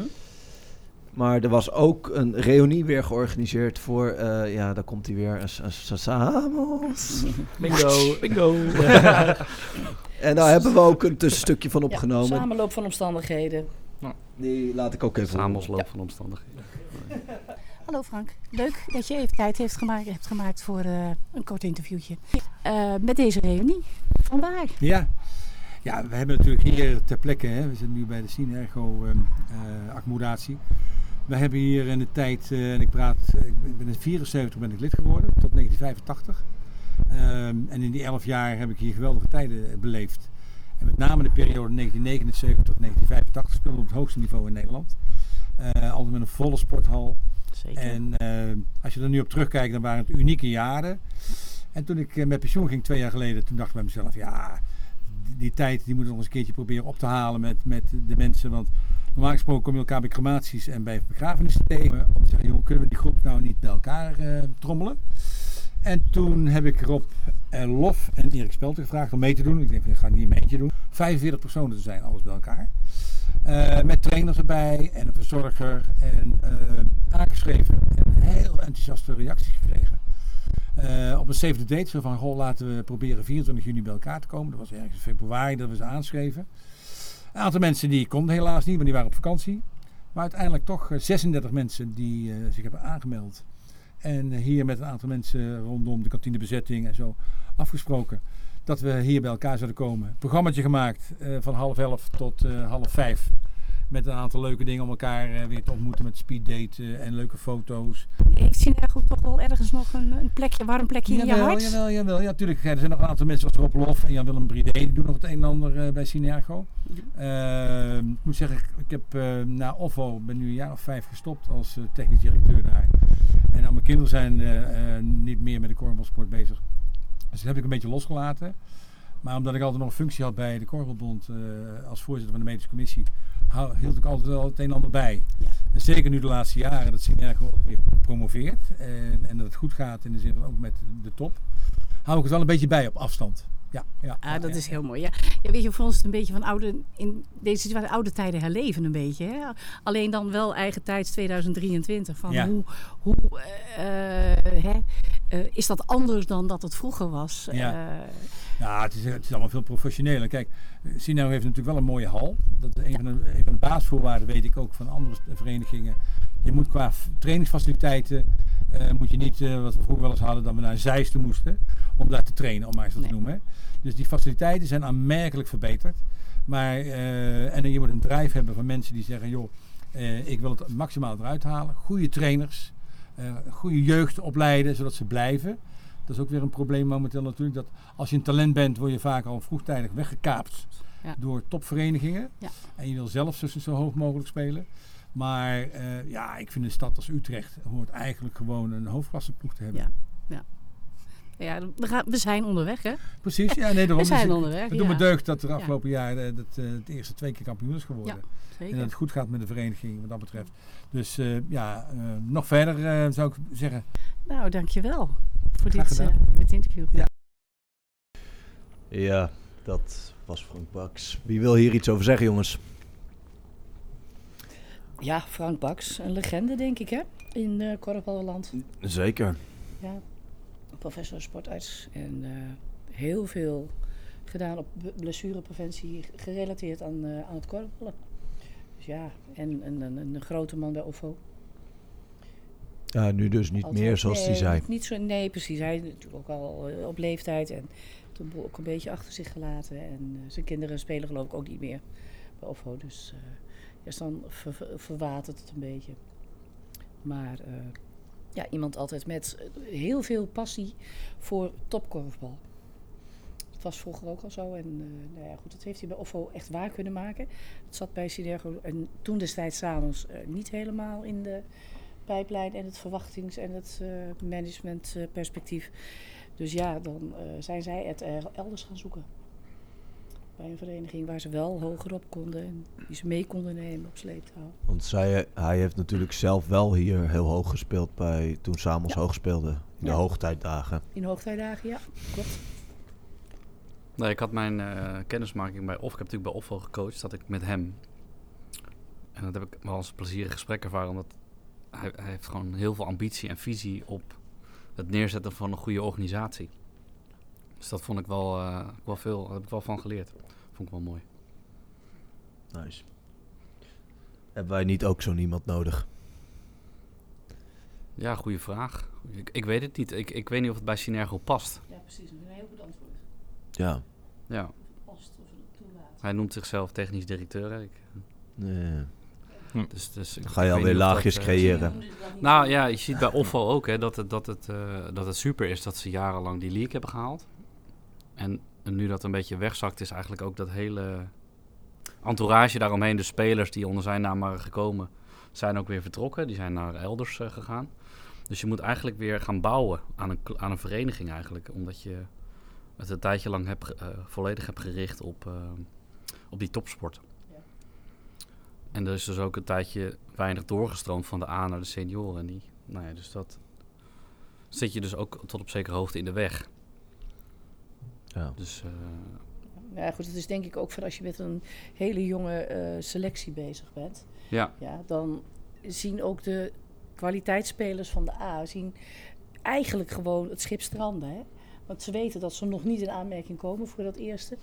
Speaker 1: Maar er was ook een reunie weer georganiseerd voor... eh, ja, daar komt hij weer. een s- een s- Samos.
Speaker 5: *laughs* bingo, bingo.
Speaker 1: *laughs* En daar hebben we ook een tussenstukje van
Speaker 4: Ja,
Speaker 1: opgenomen.
Speaker 4: samenloop van omstandigheden.
Speaker 1: Die laat ik ook even.
Speaker 2: Samensloop van omstandigheden.
Speaker 8: Hallo Frank, leuk dat je even tijd heeft gemaakt, hebt gemaakt voor eh, een kort interviewtje. Eh, met deze reunie, vanwaar?
Speaker 9: Ja. ja, we hebben natuurlijk hier ter plekke, hè, we zitten nu bij de Synergo ehm, eh, accommodatie. We hebben hier in de tijd, eh, en ik praat, eh, ik ben- ik ben in 74 ben ik lid geworden, tot 1985. Ehm, en in die 11 jaar heb ik hier geweldige tijden eh, beleefd. En met name de periode 1979-1985 speelden we op het hoogste niveau in Nederland. Eh, altijd met een volle sporthal.
Speaker 4: Zeker.
Speaker 9: En eh, als je er nu op terugkijkt, dan waren het unieke jaren. En toen ik eh, met pensioen ging twee jaar geleden, toen dacht ik bij mezelf, ja, die, die tijd die moeten we nog eens een keertje proberen op te halen met, met de mensen. Want normaal gesproken kom je elkaar bij crematies en bij begrafenissen tegen. Om te zeggen, joh, kunnen we die groep nou niet bij elkaar eh, trommelen? En toen heb ik Rob eh, Lof en Erik Spelter gevraagd om mee te doen. Ik denk, van, ik ga het niet in mijn eentje doen. 45 personen te zijn, alles bij elkaar. Eh, met trainers erbij en een verzorger. En eh, aangeschreven en heel enthousiaste reacties gekregen. Eh, op een save the date, zo van, goh, laten we proberen 24 juni bij elkaar te komen. Dat was ergens in februari dat we ze aanschreven. Een aantal mensen die konden helaas niet, want die waren op vakantie. Maar uiteindelijk toch eh, 36 mensen die eh, zich hebben aangemeld. En eh, hier met een aantal mensen rondom de kantinebezetting en zo afgesproken. Dat we hier bij elkaar zouden komen. Een programmaatje gemaakt eh, van half elf tot eh, half vijf. Met een aantal leuke dingen om elkaar eh, weer te ontmoeten met speeddaten en leuke foto's.
Speaker 8: Ik zie daar goed toch wel ergens nog een, een plekje, warm plekje in je
Speaker 9: Jawel,
Speaker 8: hart.
Speaker 9: Jawel, jawel. Ja, natuurlijk. Er zijn nog een aantal mensen als Rob Lof en Jan-Willem Bridé. Die doen nog het een en ander eh, bij Synergo. Eh, ik moet zeggen, ik- ik heb eh, na OVO, ben nu een jaar of vijf gestopt als eh, technisch directeur daar. En al mijn kinderen zijn eh, eh, niet meer met de korfbalsport bezig. Dus dat heb ik een beetje losgelaten. Maar omdat ik altijd nog een functie had bij de Korfbalbond eh, als voorzitter van de medische commissie, hou- hield ik altijd wel het een en ander bij.
Speaker 8: Ja.
Speaker 9: En zeker nu de laatste jaren dat Synergo weer promoveert en, en dat het goed gaat in de zin van ook met de top, hou ik het wel een beetje bij op afstand. Ja, ja, ja,
Speaker 8: Ah, dat
Speaker 9: Oh, ja.
Speaker 8: is heel mooi. Ja. Ja, weet je, voor ons is het een beetje van oude, in deze situatie, oude tijden herleven een beetje. Hè? Alleen dan wel eigen tijds 2023. Van
Speaker 9: Ja.
Speaker 8: Hoe, hoe eh, eh, hè, eh, is dat anders dan dat het vroeger was?
Speaker 9: Ja.
Speaker 8: Eh,
Speaker 9: Ja, het is, het is allemaal veel professioneler. Kijk, Sino heeft natuurlijk wel een mooie hal. Dat is een van, de, een van de basisvoorwaarden, weet ik ook, van andere st- verenigingen. Je moet qua f- trainingsfaciliteiten, eh, moet je niet, eh, wat we vroeger wel eens hadden, dat we naar Zeist toe moesten om daar te trainen, om maar eens wat te
Speaker 8: Nee.
Speaker 9: noemen. hè. Dus die faciliteiten zijn aanmerkelijk verbeterd. Maar, eh, en dan je moet een drijf hebben van mensen die zeggen, joh, eh, ik wil het maximaal eruit halen. Goede trainers, eh, goede jeugd opleiden, zodat ze blijven. Dat is ook weer een probleem momenteel natuurlijk. Dat als je een talent bent, word je vaak al vroegtijdig weggekaapt
Speaker 8: Ja.
Speaker 9: door topverenigingen.
Speaker 8: Ja.
Speaker 9: En je wil zelf zo, zo hoog mogelijk spelen. Maar eh, ja, ik vind een stad als Utrecht hoort eigenlijk gewoon een hoofdklasseploeg te hebben.
Speaker 8: Ja. ja, we, gaan, we zijn onderweg, hè?
Speaker 9: Precies, ja, nee, daarom.
Speaker 8: *laughs* We zijn
Speaker 9: Dus ik-
Speaker 8: onderweg.
Speaker 9: Het doet me
Speaker 8: ja.
Speaker 9: deugd dat er afgelopen jaar eh, dat, eh, het eerste twee keer kampioen is geworden.
Speaker 8: Ja,
Speaker 9: En
Speaker 8: Zeker.
Speaker 9: dat het goed gaat met de vereniging wat dat betreft. Dus eh, ja, eh, nog verder eh, zou ik zeggen.
Speaker 8: Nou, dankjewel voor
Speaker 9: Graag
Speaker 8: dit, eh, dit interview.
Speaker 9: Ja.
Speaker 1: Ja, dat was Frank Baks. Wie wil hier iets over zeggen, jongens?
Speaker 4: Ja, Frank Baks, een legende denk ik hè, in eh korfballand.
Speaker 1: Zeker.
Speaker 4: Ja, professor sportarts en eh, heel veel gedaan op b- blessurepreventie gerelateerd aan, eh, aan het korfballen. Dus ja, en, en, en een grote man bij OVO.
Speaker 1: Ja, nu dus niet
Speaker 4: Altijd-
Speaker 1: meer, zoals
Speaker 4: nee,
Speaker 1: die zei.
Speaker 4: Niet zo, nee, precies. Hij is natuurlijk ook al eh, op leeftijd en de boel ook een beetje achter zich gelaten. En eh, zijn kinderen spelen geloof ik ook niet meer bij OVO. Dus eh, ja, dus dan ver- ver- verwatert het een beetje. Maar eh, ja, iemand altijd met eh, heel veel passie voor topkorfbal. Dat was vroeger ook al zo. En eh, nou ja, goed, dat heeft hij bij OVO echt waar kunnen maken. Het zat bij Sidergo en toen destijds s'avonds eh, niet helemaal in de pijplijn en het verwachtings- en het eh, managementperspectief. dus ja, dan eh, zijn zij het er- elders gaan zoeken. Bij een vereniging waar ze wel hoger op konden en die ze mee konden nemen op sleeptouw.
Speaker 1: Want zij, hij heeft natuurlijk zelf wel hier heel hoog gespeeld bij, toen Samos hoog speelde. In de
Speaker 4: Ja.
Speaker 1: hoogtijdagen.
Speaker 4: In hoogtijdagen, ja, klopt.
Speaker 2: Nee, ik had mijn eh, kennismaking bij Of. Ik heb natuurlijk bij Offel gecoacht, dat ik met hem. En dat heb ik wel eens een plezierig gesprek ervaren, omdat hij, hij heeft gewoon heel veel ambitie en visie op het neerzetten van een goede organisatie. Dus dat vond ik wel, eh, wel veel, daar heb ik wel van geleerd. Vond ik wel mooi.
Speaker 1: Nice. Hebben wij niet ook zo'n iemand nodig?
Speaker 2: Ja, goede vraag. Ik, ik weet het niet. Ik, ik weet niet of het bij Synergo past.
Speaker 4: Ja, precies. Een heel goed antwoord.
Speaker 1: Ja.
Speaker 2: Ja.
Speaker 4: Past of het toelaat.
Speaker 2: Hij noemt zichzelf technisch directeur. hè. Ik,
Speaker 1: Nee.
Speaker 2: dus, dus, ik-
Speaker 1: Dan ga
Speaker 2: ik
Speaker 1: je
Speaker 2: weet
Speaker 1: alweer
Speaker 2: niet of dat,
Speaker 1: laagjes
Speaker 2: eh,
Speaker 1: creëren.
Speaker 2: Nou ja, je ziet bij Offal ook hè, dat, het, dat, het, eh, dat het super is dat ze jarenlang die league hebben gehaald. En nu dat een beetje wegzakt, is eigenlijk ook dat hele entourage daaromheen. De spelers die onder zijn naam waren gekomen, zijn ook weer vertrokken. Die zijn naar elders eh, gegaan. Dus je moet eigenlijk weer gaan bouwen aan een, kl- aan een vereniging eigenlijk. Omdat je het een tijdje lang hebt, ge- eh, volledig hebt gericht op, eh, op die topsport. En er is dus ook een tijdje weinig doorgestroomd van de A naar de senioren. En die, nou ja, dus dat zit je dus ook tot op zekere hoogte in de weg.
Speaker 1: Ja.
Speaker 2: Dus eh,
Speaker 4: Ja, goed, dat is denk ik ook voor als je met een hele jonge eh, selectie bezig bent.
Speaker 2: ja,
Speaker 4: Ja, dan zien ook de kwaliteitsspelers van de A zien eigenlijk gewoon het schip stranden. Hè? Want ze weten dat ze nog niet in aanmerking komen voor dat eerste.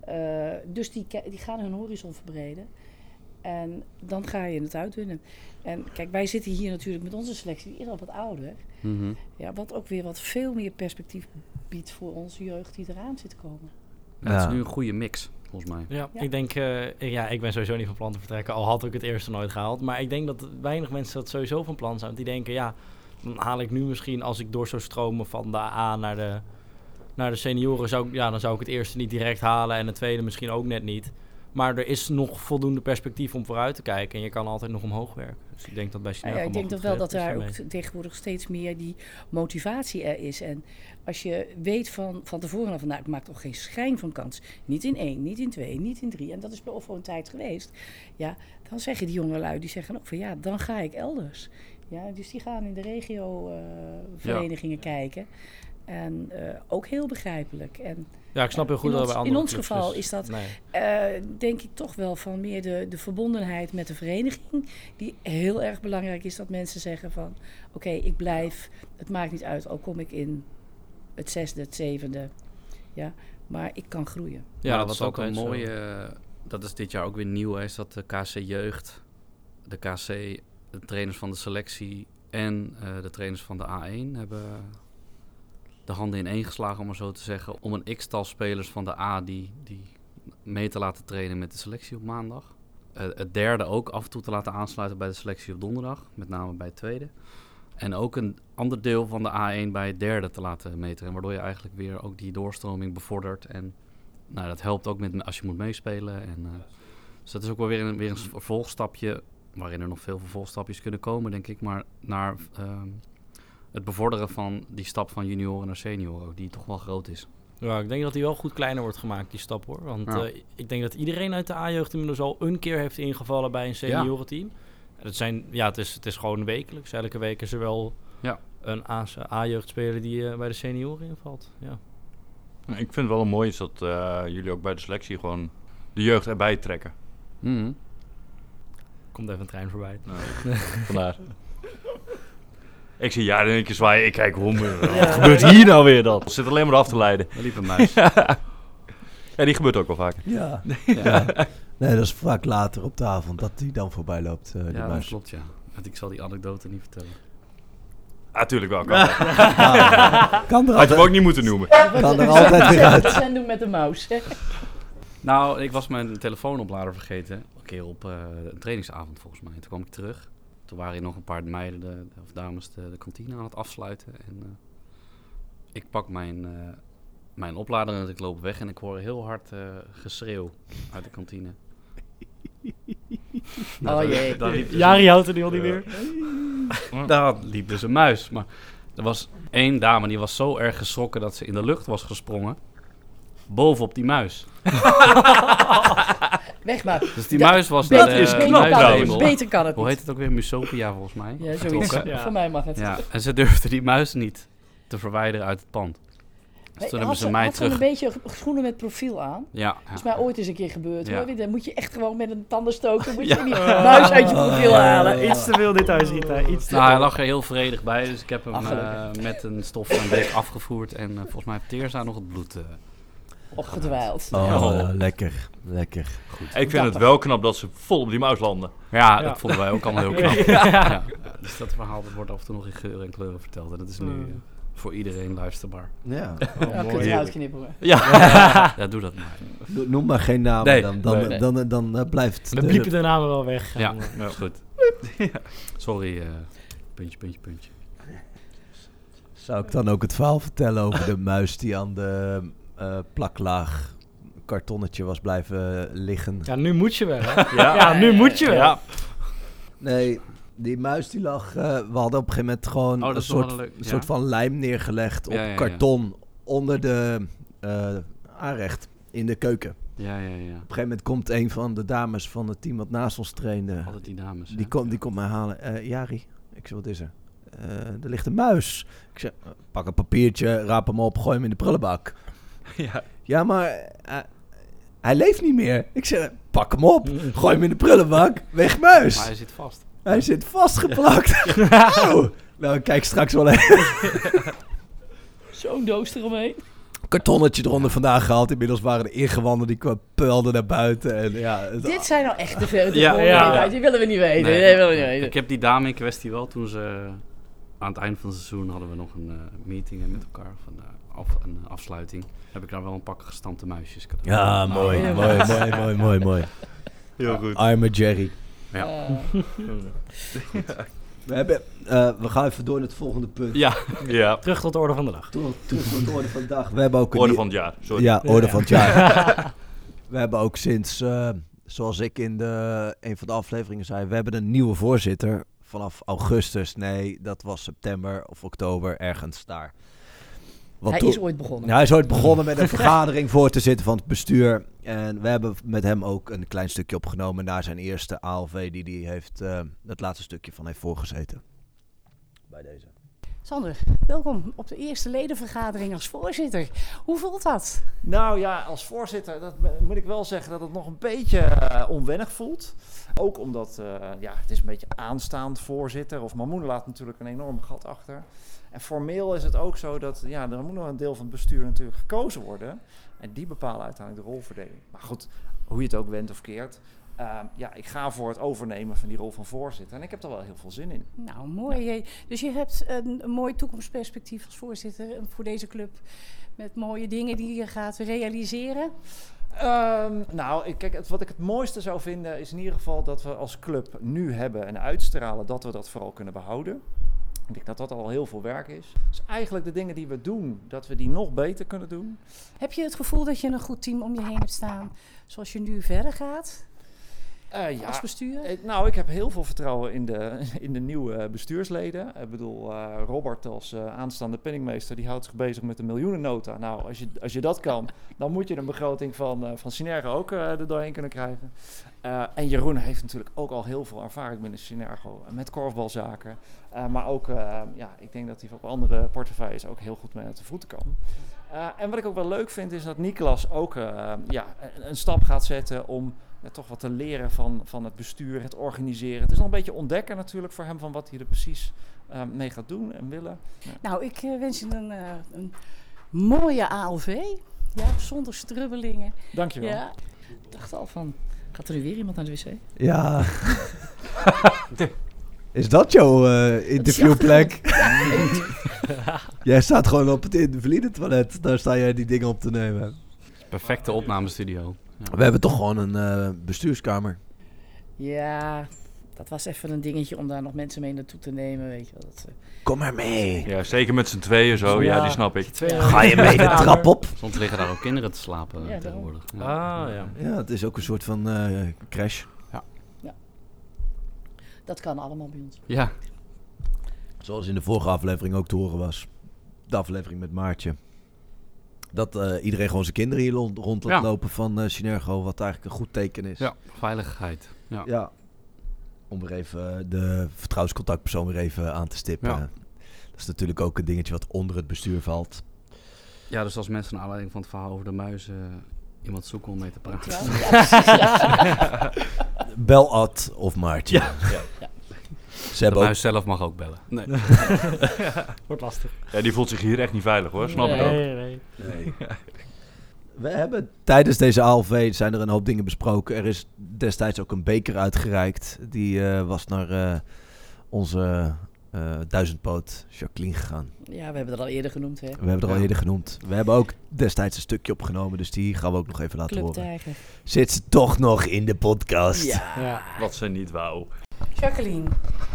Speaker 4: Eh, dus die, ki- die gaan hun horizon verbreden. En dan ga je het uitdunnen. En kijk, wij zitten hier natuurlijk met onze selectie, die is al wat ouder.
Speaker 2: mhm.
Speaker 4: Ja, wat ook weer wat veel meer perspectief biedt voor onze jeugd die eraan zit te komen.
Speaker 2: Ja, het
Speaker 1: Ja.
Speaker 2: is nu een goede mix, volgens mij.
Speaker 5: Ja,
Speaker 4: Ja.
Speaker 5: ik denk, eh, ik- ja, ik ben sowieso niet van plan te vertrekken, al had ik het eerste nooit gehaald. Maar ik denk dat weinig mensen dat sowieso van plan zijn. Want die denken, ja, dan haal ik nu misschien als ik door zou stromen van de A naar de, naar de senioren, zou, ik- ja, dan zou ik het eerste niet direct halen en het tweede misschien ook net niet. Maar er is nog voldoende perspectief om vooruit te kijken en je kan altijd nog omhoog werken. Dus ik denk dat bij
Speaker 4: Nou
Speaker 5: Sinergo
Speaker 4: ja, ik denk
Speaker 5: dat
Speaker 4: toch wel dat daar ook tegenwoordig steeds meer die motivatie er is. En als je weet van, van tevoren al van, nou, ik maak toch geen schijn van kans. Niet in één, niet in twee, niet in drie. En dat is bij Offo een tijd geweest. Ja, dan zeggen die jongelui, die zeggen ook van, ja, dan ga ik elders. Ja, dus die gaan in de regio eh, verenigingen kijken. En eh, ook heel begrijpelijk. En
Speaker 5: Ja, ik snap heel goed
Speaker 4: in
Speaker 5: dat
Speaker 4: ons-
Speaker 5: bij
Speaker 4: in
Speaker 5: andere
Speaker 4: ons
Speaker 5: clubs dus
Speaker 4: geval is dat-
Speaker 5: nee.
Speaker 4: eh, denk ik toch wel van meer de, de verbondenheid met de vereniging. Die heel erg belangrijk is dat mensen zeggen van... oké, ik blijf. Het maakt niet uit, al kom ik in het zesde, het zevende. Ja, maar ik kan groeien.
Speaker 5: Ja,
Speaker 2: maar
Speaker 5: dat
Speaker 2: dat
Speaker 5: is
Speaker 2: is ook een
Speaker 5: altijd zo.
Speaker 2: *laughs* mooie. Dat is dit jaar ook weer nieuw, hè, is dat de KC Jeugd, de KC, de trainers van de selectie en eh, de trainers van de A1 hebben de handen in één geslagen, om maar zo te zeggen, om een x-tal spelers van de A die, die mee te laten trainen met de selectie op maandag. Eh, het derde ook af en toe te laten aansluiten bij de selectie op donderdag, met name bij het tweede. En ook een ander deel van de A1 bij het derde te laten meten. Waardoor je eigenlijk weer ook die doorstroming bevordert en nou, dat helpt ook met als je moet meespelen. En, eh, dus dat is ook wel weer een, weer een vervolgstapje, waarin er nog veel vervolgstapjes kunnen komen, denk ik. Maar naar ehm, het bevorderen van die stap van junioren naar senioren, die toch wel groot is.
Speaker 5: Ja, ik denk dat die wel goed kleiner wordt gemaakt, die stap hoor. Want
Speaker 2: Ja.
Speaker 5: eh, ik denk dat iedereen uit de A-jeugd inmiddels al een keer heeft ingevallen bij een seniorenteam. En Het, zijn, ja, het, is, het is gewoon wekelijks. Elke week is er wel
Speaker 2: Ja.
Speaker 5: een A's- A-jeugdspeler die eh, bij de senioren invalt. Ja.
Speaker 3: Nou, Ik vind het wel mooi is dat eh, jullie ook bij de selectie gewoon de jeugd erbij trekken.
Speaker 2: Mhm.
Speaker 5: Komt even een trein voorbij. *laughs*
Speaker 3: Nou, Vandaar. Ik zie ja in één keer zwaaien. Ik kijk, hoe wat gebeurt hier nou weer dan? Zit alleen maar af te leiden.
Speaker 2: Daar liep een muis.
Speaker 3: Ja, die gebeurt ook wel vaker.
Speaker 1: *laughs* Ja.
Speaker 2: ja,
Speaker 1: Oh, Nee, dat is vaak later op de avond dat die dan voorbij loopt. eh, die
Speaker 2: ja, dat
Speaker 1: muis.
Speaker 2: klopt, ja. Want ik zal die anekdote niet vertellen.
Speaker 3: Ah, tuurlijk
Speaker 1: *laughs*
Speaker 3: wel. Kan wel.
Speaker 1: Ah, kan er
Speaker 3: Had je
Speaker 1: altijd,
Speaker 3: hem ook niet moeten noemen.
Speaker 1: kan er altijd weer uit.
Speaker 2: *laughs*
Speaker 3: *laughs*
Speaker 4: En doen met de mouse. hè.
Speaker 2: Nou, ik was mijn telefoonoplader vergeten. Een keer op eh, een trainingsavond volgens mij. Toen kwam ik terug. Toen waren hier nog een paar meiden de, of dames de, de kantine aan het afsluiten. En eh, ik pak mijn, eh, mijn oplader en ik loop weg. En ik hoor heel hard eh, geschreeuw uit de kantine.
Speaker 4: *laughs* Oh jee.
Speaker 2: Daar liep dus
Speaker 5: Jari houdt er nu al niet
Speaker 3: Ja.
Speaker 5: meer.
Speaker 2: een, daar liep dus een muis. Maar er was één dame die was zo erg geschrokken dat ze in de lucht was gesprongen. Bovenop die muis.
Speaker 4: *laughs* Weg maar.
Speaker 2: Dus die
Speaker 4: Dat-
Speaker 2: muis was naar
Speaker 4: Beter,
Speaker 2: de,
Speaker 3: is
Speaker 4: beter, kan
Speaker 2: muis naar de
Speaker 3: knap
Speaker 4: het,
Speaker 3: trouwens.
Speaker 2: hemel.
Speaker 4: dus beter kan het
Speaker 2: Hoe heet
Speaker 4: niet.
Speaker 2: het ook weer? Musopia volgens mij.
Speaker 4: Ja, zoiets.
Speaker 2: Vertrokken.
Speaker 5: Ja.
Speaker 4: *laughs* Voor mij mag het.
Speaker 2: Ja, en ze durfden die muis niet te verwijderen uit het pand. Dus
Speaker 4: Had
Speaker 2: toen hebben ze mij
Speaker 4: had
Speaker 2: terug...
Speaker 4: een beetje schoenen met profiel aan.
Speaker 2: Ja,
Speaker 4: Dat is mij ooit eens een keer gebeurd.
Speaker 2: Ja.
Speaker 4: Hoor. Dan moet je echt gewoon met een tandenstoker moet
Speaker 2: Ja.
Speaker 4: je die muis uit je profiel halen. Ja.
Speaker 5: Iets te veel dit huis, Rita. Iets te
Speaker 2: Nou, hij lag er heel vredig bij, dus ik heb hem
Speaker 4: Ah, gelukkig.
Speaker 2: eh, met een stof en week afgevoerd. En eh, volgens mij heeft Teerza nog het bloed eh,
Speaker 4: opgedwaald.
Speaker 1: Oh,
Speaker 3: Oh.
Speaker 1: lekker. Lekker.
Speaker 3: Ik vind het wel knap dat ze vol op die muis landen.
Speaker 2: Ja,
Speaker 5: Ja.
Speaker 2: Ah, dat vonden wij ook
Speaker 5: *laughs*
Speaker 2: allemaal heel
Speaker 5: Ja.
Speaker 2: knap. Ja. Dus dat verhaal dat wordt af en toe nog in geuren en kleuren verteld. En dat is nu
Speaker 5: Mm.
Speaker 2: eh, voor iedereen luisterbaar.
Speaker 1: Ja. Oh,
Speaker 4: Ja, kun je eruit knipperen.
Speaker 3: Ja.
Speaker 2: Ja, doe dat maar.
Speaker 1: No- Noem maar geen naam.
Speaker 2: Nee,
Speaker 1: dan dan,
Speaker 2: nee, nee.
Speaker 1: dan, dan, eh, blijft...
Speaker 5: We bliepen de namen wel weg.
Speaker 2: Ja,
Speaker 5: Eh,
Speaker 3: Ja.
Speaker 2: is goed. *laughs* Sorry, eh, puntje, puntje, puntje.
Speaker 1: Zou ik dan ook het verhaal vertellen over de muis die aan de eh, plaklaag kartonnetje was blijven liggen?
Speaker 5: Ja, nu moet je wel. hè.
Speaker 3: Ja.
Speaker 5: Ja, nu moet je wel.
Speaker 3: Ja.
Speaker 1: Nee, die muis die lag... eh, we hadden op een gegeven moment gewoon
Speaker 2: Oh, dat
Speaker 1: een
Speaker 2: is nog wel
Speaker 1: soort,
Speaker 2: een leuk.
Speaker 1: een soort van lijm neergelegd op
Speaker 2: Ja, ja, ja.
Speaker 1: karton onder de eh, aanrecht in de keuken. Op
Speaker 2: Ja, ja, ja.
Speaker 1: een gegeven moment komt een van de dames van het team wat naast ons trainde.
Speaker 2: Altijd die dames. hè?
Speaker 1: Die, komt die komt mij halen. Eh, Jari, ik zeg, wat is er? Eh, er ligt een muis. Ik zeg, eh, pak een papiertje, raap hem op, gooi hem in de prullenbak.
Speaker 3: Ja.
Speaker 1: Ja, maar eh, hij leeft niet meer. Ik zeg, pak hem op, gooi hem in de prullenbak, weg muis.
Speaker 2: Maar hij zit vast.
Speaker 1: Hij zit vastgeplakt. *laughs* Oh. Nou, ik kijk straks wel even.
Speaker 4: Zo'n doos eromheen.
Speaker 1: Kartonnetje eronder vandaag gehaald. Inmiddels waren de ingewanden die kwa- puilden naar buiten. En ja, het-
Speaker 4: Dit zijn nou echt de verre
Speaker 2: Ja,
Speaker 4: ja,
Speaker 2: ja, ja.
Speaker 4: Die willen we niet weten.
Speaker 2: Nee,
Speaker 4: die willen we niet
Speaker 2: nee.
Speaker 4: weten.
Speaker 2: Ik heb die dame in kwestie wel toen ze... Aan het eind van het seizoen hadden we nog een eh, meeting met elkaar. Van, eh, af, een eh, afsluiting. Heb ik daar wel een pak gestampte muisjes cadeau.
Speaker 1: ja, mooi,
Speaker 4: Ah, Ja.
Speaker 1: mooi, mooi, mooi, mooi, mooi.
Speaker 3: Heel goed.
Speaker 1: Arme Jerry.
Speaker 2: Ja.
Speaker 4: Eh,
Speaker 1: We, hebben, eh, we gaan even door naar het volgende punt. *laughs*
Speaker 2: Ja.
Speaker 3: Ja.
Speaker 5: Terug tot de orde van de dag.
Speaker 1: Terug terug tot de orde van de dag. *laughs* We hebben ook een
Speaker 3: Orde
Speaker 1: nieuw-
Speaker 3: van het jaar. Sorry.
Speaker 1: Ja, orde van het jaar.
Speaker 3: *laughs*
Speaker 1: we hebben ook sinds, eh, zoals ik in de, een van de afleveringen zei, we hebben een nieuwe voorzitter vanaf augustus. Nee, dat was september of oktober, ergens daar. Want
Speaker 4: hij
Speaker 1: toen-
Speaker 4: is ooit begonnen.
Speaker 1: Ja, hij is ooit begonnen
Speaker 4: *laughs*
Speaker 1: met een vergadering voor te zitten van het bestuur. En we hebben met hem ook een klein stukje opgenomen naar zijn eerste ALV, die die heeft, eh, het laatste stukje van heeft voorgezeten. Bij deze.
Speaker 8: Sander, welkom op de eerste ledenvergadering als voorzitter. Hoe voelt dat?
Speaker 10: Nou ja, als voorzitter dat m- moet ik wel zeggen dat het nog een beetje eh, onwennig voelt. Ook omdat eh, ja, het is een beetje aanstaand voorzitter. Of Mamoen laat natuurlijk een enorm gat achter. En formeel is het ook zo dat ja, er moet nog een deel van het bestuur natuurlijk gekozen worden. En die bepalen uiteindelijk de rolverdeling. Maar goed, hoe je het ook wendt of keert. eh, ja, ik ga voor het overnemen van die rol van voorzitter. En ik heb er wel heel veel zin in.
Speaker 8: Nou, mooi. hè. Dus je hebt een, een mooi toekomstperspectief als voorzitter en voor deze club. Met mooie dingen die je gaat realiseren.
Speaker 10: Ehm, nou, ik- kijk, het, wat ik het mooiste zou vinden is in ieder geval dat we als club nu hebben en uitstralen dat we dat vooral kunnen behouden. Ik denk dat dat al heel veel werk is. Dus eigenlijk de dingen die we doen, dat we die nog beter kunnen doen.
Speaker 8: Heb je het gevoel dat je een goed team om je heen hebt staan? Zoals je nu verder gaat
Speaker 10: Eh, ja,
Speaker 8: als bestuur?
Speaker 10: Eh, Nou, ik heb heel veel vertrouwen in de, *laughs* in de nieuwe bestuursleden. Ik bedoel, eh, Robert als eh, aanstaande penningmeester, die houdt zich bezig met de miljoenennota. Nou, als je, als je dat kan, dan moet je een begroting van, eh van Synergo ook eh, er doorheen kunnen krijgen. Eh, en Jeroen heeft natuurlijk ook al heel veel ervaring binnen Synergo, eh, met korfbalzaken. Eh, maar ook, eh, ja, ik denk dat hij op andere portefeuilles ook heel goed mee uit de voeten kan. Eh, en wat ik ook wel leuk vind, is dat Niklas ook eh, ja, een, een stap gaat zetten om ja, toch wat te leren van, van het bestuur, het organiseren. Het is nog een beetje ontdekken natuurlijk voor hem van wat hij er precies eh, mee gaat doen en willen.
Speaker 8: Nou, ik eh, wens je een, eh, een mooie ALV. Ja, zonder strubbelingen.
Speaker 10: Dankjewel.
Speaker 8: Ja.
Speaker 4: Ik dacht al van, gaat er nu weer iemand naar de wc?
Speaker 1: Ja. *laughs* Is dat jouw eh, interviewplek? *laughs* jij staat gewoon op het invalide toilet. Daar sta jij die dingen op te nemen.
Speaker 2: Perfecte opnamestudio.
Speaker 1: We hebben toch gewoon een eh, bestuurskamer.
Speaker 4: Ja, dat was even een dingetje om daar nog mensen mee naartoe te nemen. Weet je wel. Dat, eh,
Speaker 1: Kom maar mee.
Speaker 3: Ja, zeker met z'n tweeën zo. Ja,
Speaker 5: Ja.
Speaker 3: die snap ik.
Speaker 5: Twee
Speaker 1: Ga je mee de trap op?
Speaker 2: Soms liggen daar ook kinderen te slapen eh,
Speaker 4: Ja,
Speaker 2: tegenwoordig. Ja.
Speaker 5: Ah, ja.
Speaker 1: Ja, het is ook een soort van eh, crash.
Speaker 4: dat kan allemaal bij ons.
Speaker 2: Ja.
Speaker 1: Zoals in de vorige aflevering ook te horen was. De aflevering met Maartje. Dat eh, iedereen gewoon zijn kinderen hier rond, rond laat
Speaker 2: Ja.
Speaker 1: lopen van eh Synergo. Wat eigenlijk een goed teken is.
Speaker 2: ja, veiligheid. Ja.
Speaker 1: Ja. Om weer even eh, de vertrouwenscontactpersoon weer even aan te stippen.
Speaker 2: Ja.
Speaker 1: Dat is natuurlijk ook een dingetje wat onder het bestuur valt.
Speaker 2: Ja, dus als mensen naar aanleiding van het verhaal over de muizen eh, iemand zoeken om mee te praten.
Speaker 4: Ja, ja, precies, ja.
Speaker 2: *laughs*
Speaker 1: Bel Ad of Maartje. Ze
Speaker 2: De
Speaker 1: hebben ook...
Speaker 2: muis zelf mag ook bellen. Nee.
Speaker 5: *laughs* Wordt lastig.
Speaker 3: Ja, die voelt zich hier echt niet veilig hoor. Snap ik
Speaker 5: nee,
Speaker 3: ook.
Speaker 5: nee, nee.
Speaker 1: We hebben tijdens deze ALV zijn er een hoop dingen besproken. Er is destijds ook een beker uitgereikt. Die eh, was naar eh, onze eh, duizendpoot Jacqueline gegaan.
Speaker 4: Ja, we hebben het al eerder genoemd, hè?
Speaker 1: We hebben het al
Speaker 2: Ja.
Speaker 1: eerder genoemd. We hebben ook destijds een stukje opgenomen, dus die gaan we ook nog even laten
Speaker 4: Club
Speaker 1: horen.
Speaker 4: Tijger.
Speaker 1: Zit ze toch nog in de podcast?
Speaker 4: Ja.
Speaker 3: Wat ze niet wou.
Speaker 8: Jacqueline,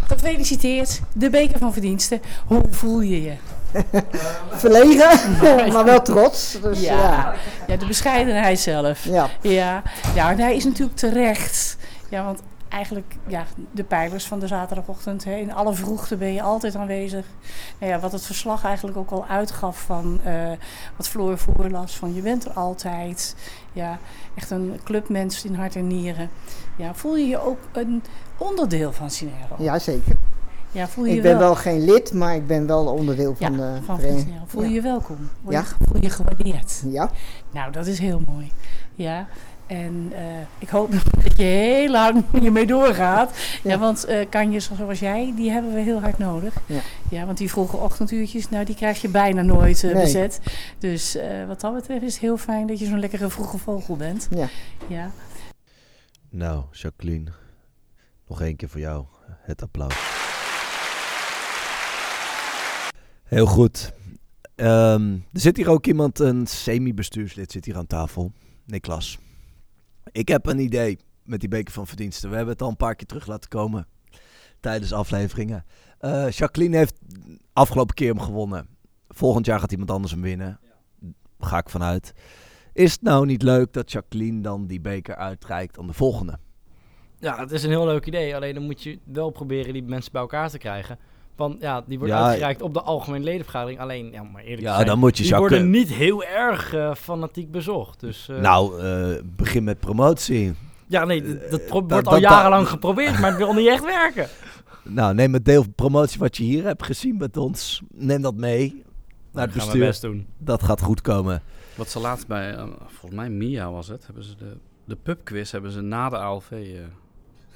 Speaker 8: gefeliciteerd. De beker van verdiensten. Hoe voel je je?
Speaker 11: *laughs* Verlegen,
Speaker 4: *laughs*
Speaker 11: maar wel trots. Dus, ja.
Speaker 4: Ja.
Speaker 11: Ja.
Speaker 4: ja, de bescheidenheid zelf. Ja, ja en hij is natuurlijk terecht. Ja, want eigenlijk ja, de pijlers van de zaterdagochtend. Hè, in alle vroegte ben je altijd aanwezig. Nou ja, wat het verslag eigenlijk ook al uitgaf van eh, wat Floor voorlas. Van je bent er altijd. Ja, echt een clubmens in hart en nieren. Ja, voel je je ook een onderdeel van Cinero?
Speaker 11: zeker.
Speaker 4: Ja, voel je
Speaker 11: Ik
Speaker 4: je
Speaker 11: ben wel geen lid, maar ik ben wel onderdeel
Speaker 4: Ja,
Speaker 11: van de
Speaker 4: van
Speaker 11: vereniging.
Speaker 4: Cinero. Voel je
Speaker 11: Ja.
Speaker 4: je welkom? Word
Speaker 11: Ja.
Speaker 4: je, voel je gewaardeerd?
Speaker 11: Ja,
Speaker 4: Nou, dat is heel mooi. Ja. En eh, ik hoop *laughs* dat je heel lang hiermee doorgaat. Ja,
Speaker 11: Ja.
Speaker 4: want eh kanjers zoals jij, die hebben we heel hard nodig.
Speaker 11: Ja.
Speaker 4: want die vroege ochtenduurtjes, nou, die krijg je bijna nooit eh,
Speaker 11: Nee.
Speaker 4: bezet. Dus eh, wat dat betreft is het heel fijn dat je zo'n lekkere vroege vogel bent.
Speaker 11: Ja.
Speaker 4: ja.
Speaker 1: Nou, Jacqueline, nog één keer voor jou het applaus. Heel goed. Ehm, er zit hier ook iemand, een semi-bestuurslid zit hier aan tafel. Niklas. Ik heb een idee met die beker van verdiensten. We hebben het al een paar keer terug laten komen tijdens afleveringen. Eh, Jacqueline heeft afgelopen keer hem gewonnen. Volgend jaar gaat iemand anders hem winnen. Ga ik vanuit. Is het nou niet leuk dat Jacqueline dan die beker uitreikt aan de volgende?
Speaker 5: Ja, het is een heel leuk idee. Alleen dan moet je wel proberen die mensen bij elkaar te krijgen. Want ja, die wordt
Speaker 1: Ja.
Speaker 5: uitgereikt op de algemene ledenvergadering. Alleen, ja, maar eerlijk
Speaker 1: Ja,
Speaker 5: zijn,
Speaker 1: dan moet je
Speaker 5: die worden
Speaker 1: Jacqueline...
Speaker 5: niet heel erg eh, fanatiek bezocht. Dus, eh,
Speaker 1: Nou, eh, begin met promotie.
Speaker 5: ja, nee, d- dat pro- wordt
Speaker 1: eh, dat-
Speaker 5: al
Speaker 1: dat-
Speaker 5: jarenlang geprobeerd, maar het wil niet echt werken. *laughs*
Speaker 1: Nou, neem het deel van promotie wat je hier hebt gezien met ons. Neem dat mee naar
Speaker 5: Dan gaan
Speaker 1: het bestuur.
Speaker 5: we best doen.
Speaker 1: Dat gaat goed komen.
Speaker 2: Wat ze laatst bij, eh, volgens mij Mia was het, hebben ze de, de pubquiz hebben ze na de ALV eh,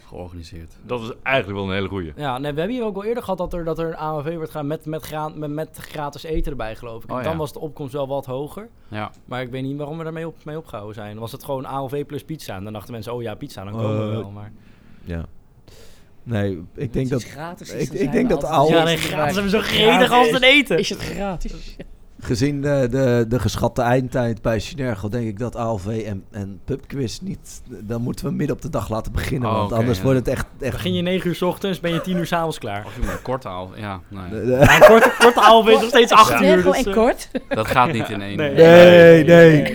Speaker 2: georganiseerd.
Speaker 3: Dat is eigenlijk wel een hele goeie.
Speaker 5: Ja, nee, we hebben hier ook al eerder gehad dat er, dat er een AMV wordt gedaan met, met, gra- met, met gratis eten erbij, geloof ik. En
Speaker 2: Oh, ja.
Speaker 5: dan was de opkomst wel wat hoger.
Speaker 2: Ja,
Speaker 5: Maar ik weet niet waarom we daarmee op, mee opgehouden zijn. Was het gewoon ALV plus pizza? En dan dachten mensen, oh ja, pizza, dan komen we
Speaker 1: Eh,
Speaker 5: wel. Maar...
Speaker 1: Ja. Nee, ik denk dat...
Speaker 4: Iets gratis is,
Speaker 1: ik-
Speaker 4: dan
Speaker 1: ik
Speaker 4: zijn
Speaker 1: denk
Speaker 4: we
Speaker 1: dat
Speaker 4: altijd
Speaker 1: al-
Speaker 5: Ja,
Speaker 1: Ja,
Speaker 5: nee,
Speaker 4: erbij.
Speaker 5: gratis hebben we zo gretig als het eten.
Speaker 4: Is het gratis?
Speaker 1: Gezien de, de, de geschatte eindtijd bij Sinergo denk ik dat ALV en, en pubquiz niet... Dan moeten we midden op de dag laten beginnen.
Speaker 2: Oh,
Speaker 1: want
Speaker 2: oké,
Speaker 1: anders
Speaker 2: ja.
Speaker 1: wordt het echt... echt
Speaker 5: Begin je 9 uur 's ochtends, ben je 10 uur 's avonds klaar. Nou,
Speaker 2: of je maar een korte ALV, ja, nee.
Speaker 5: Ja, een korte, korte ALV is nog steeds 8 uur.
Speaker 4: Snel
Speaker 5: Dus,
Speaker 4: en
Speaker 5: eh,
Speaker 4: kort.
Speaker 2: Dat gaat niet in één.
Speaker 5: Nee.
Speaker 2: eh,
Speaker 1: nee, nee.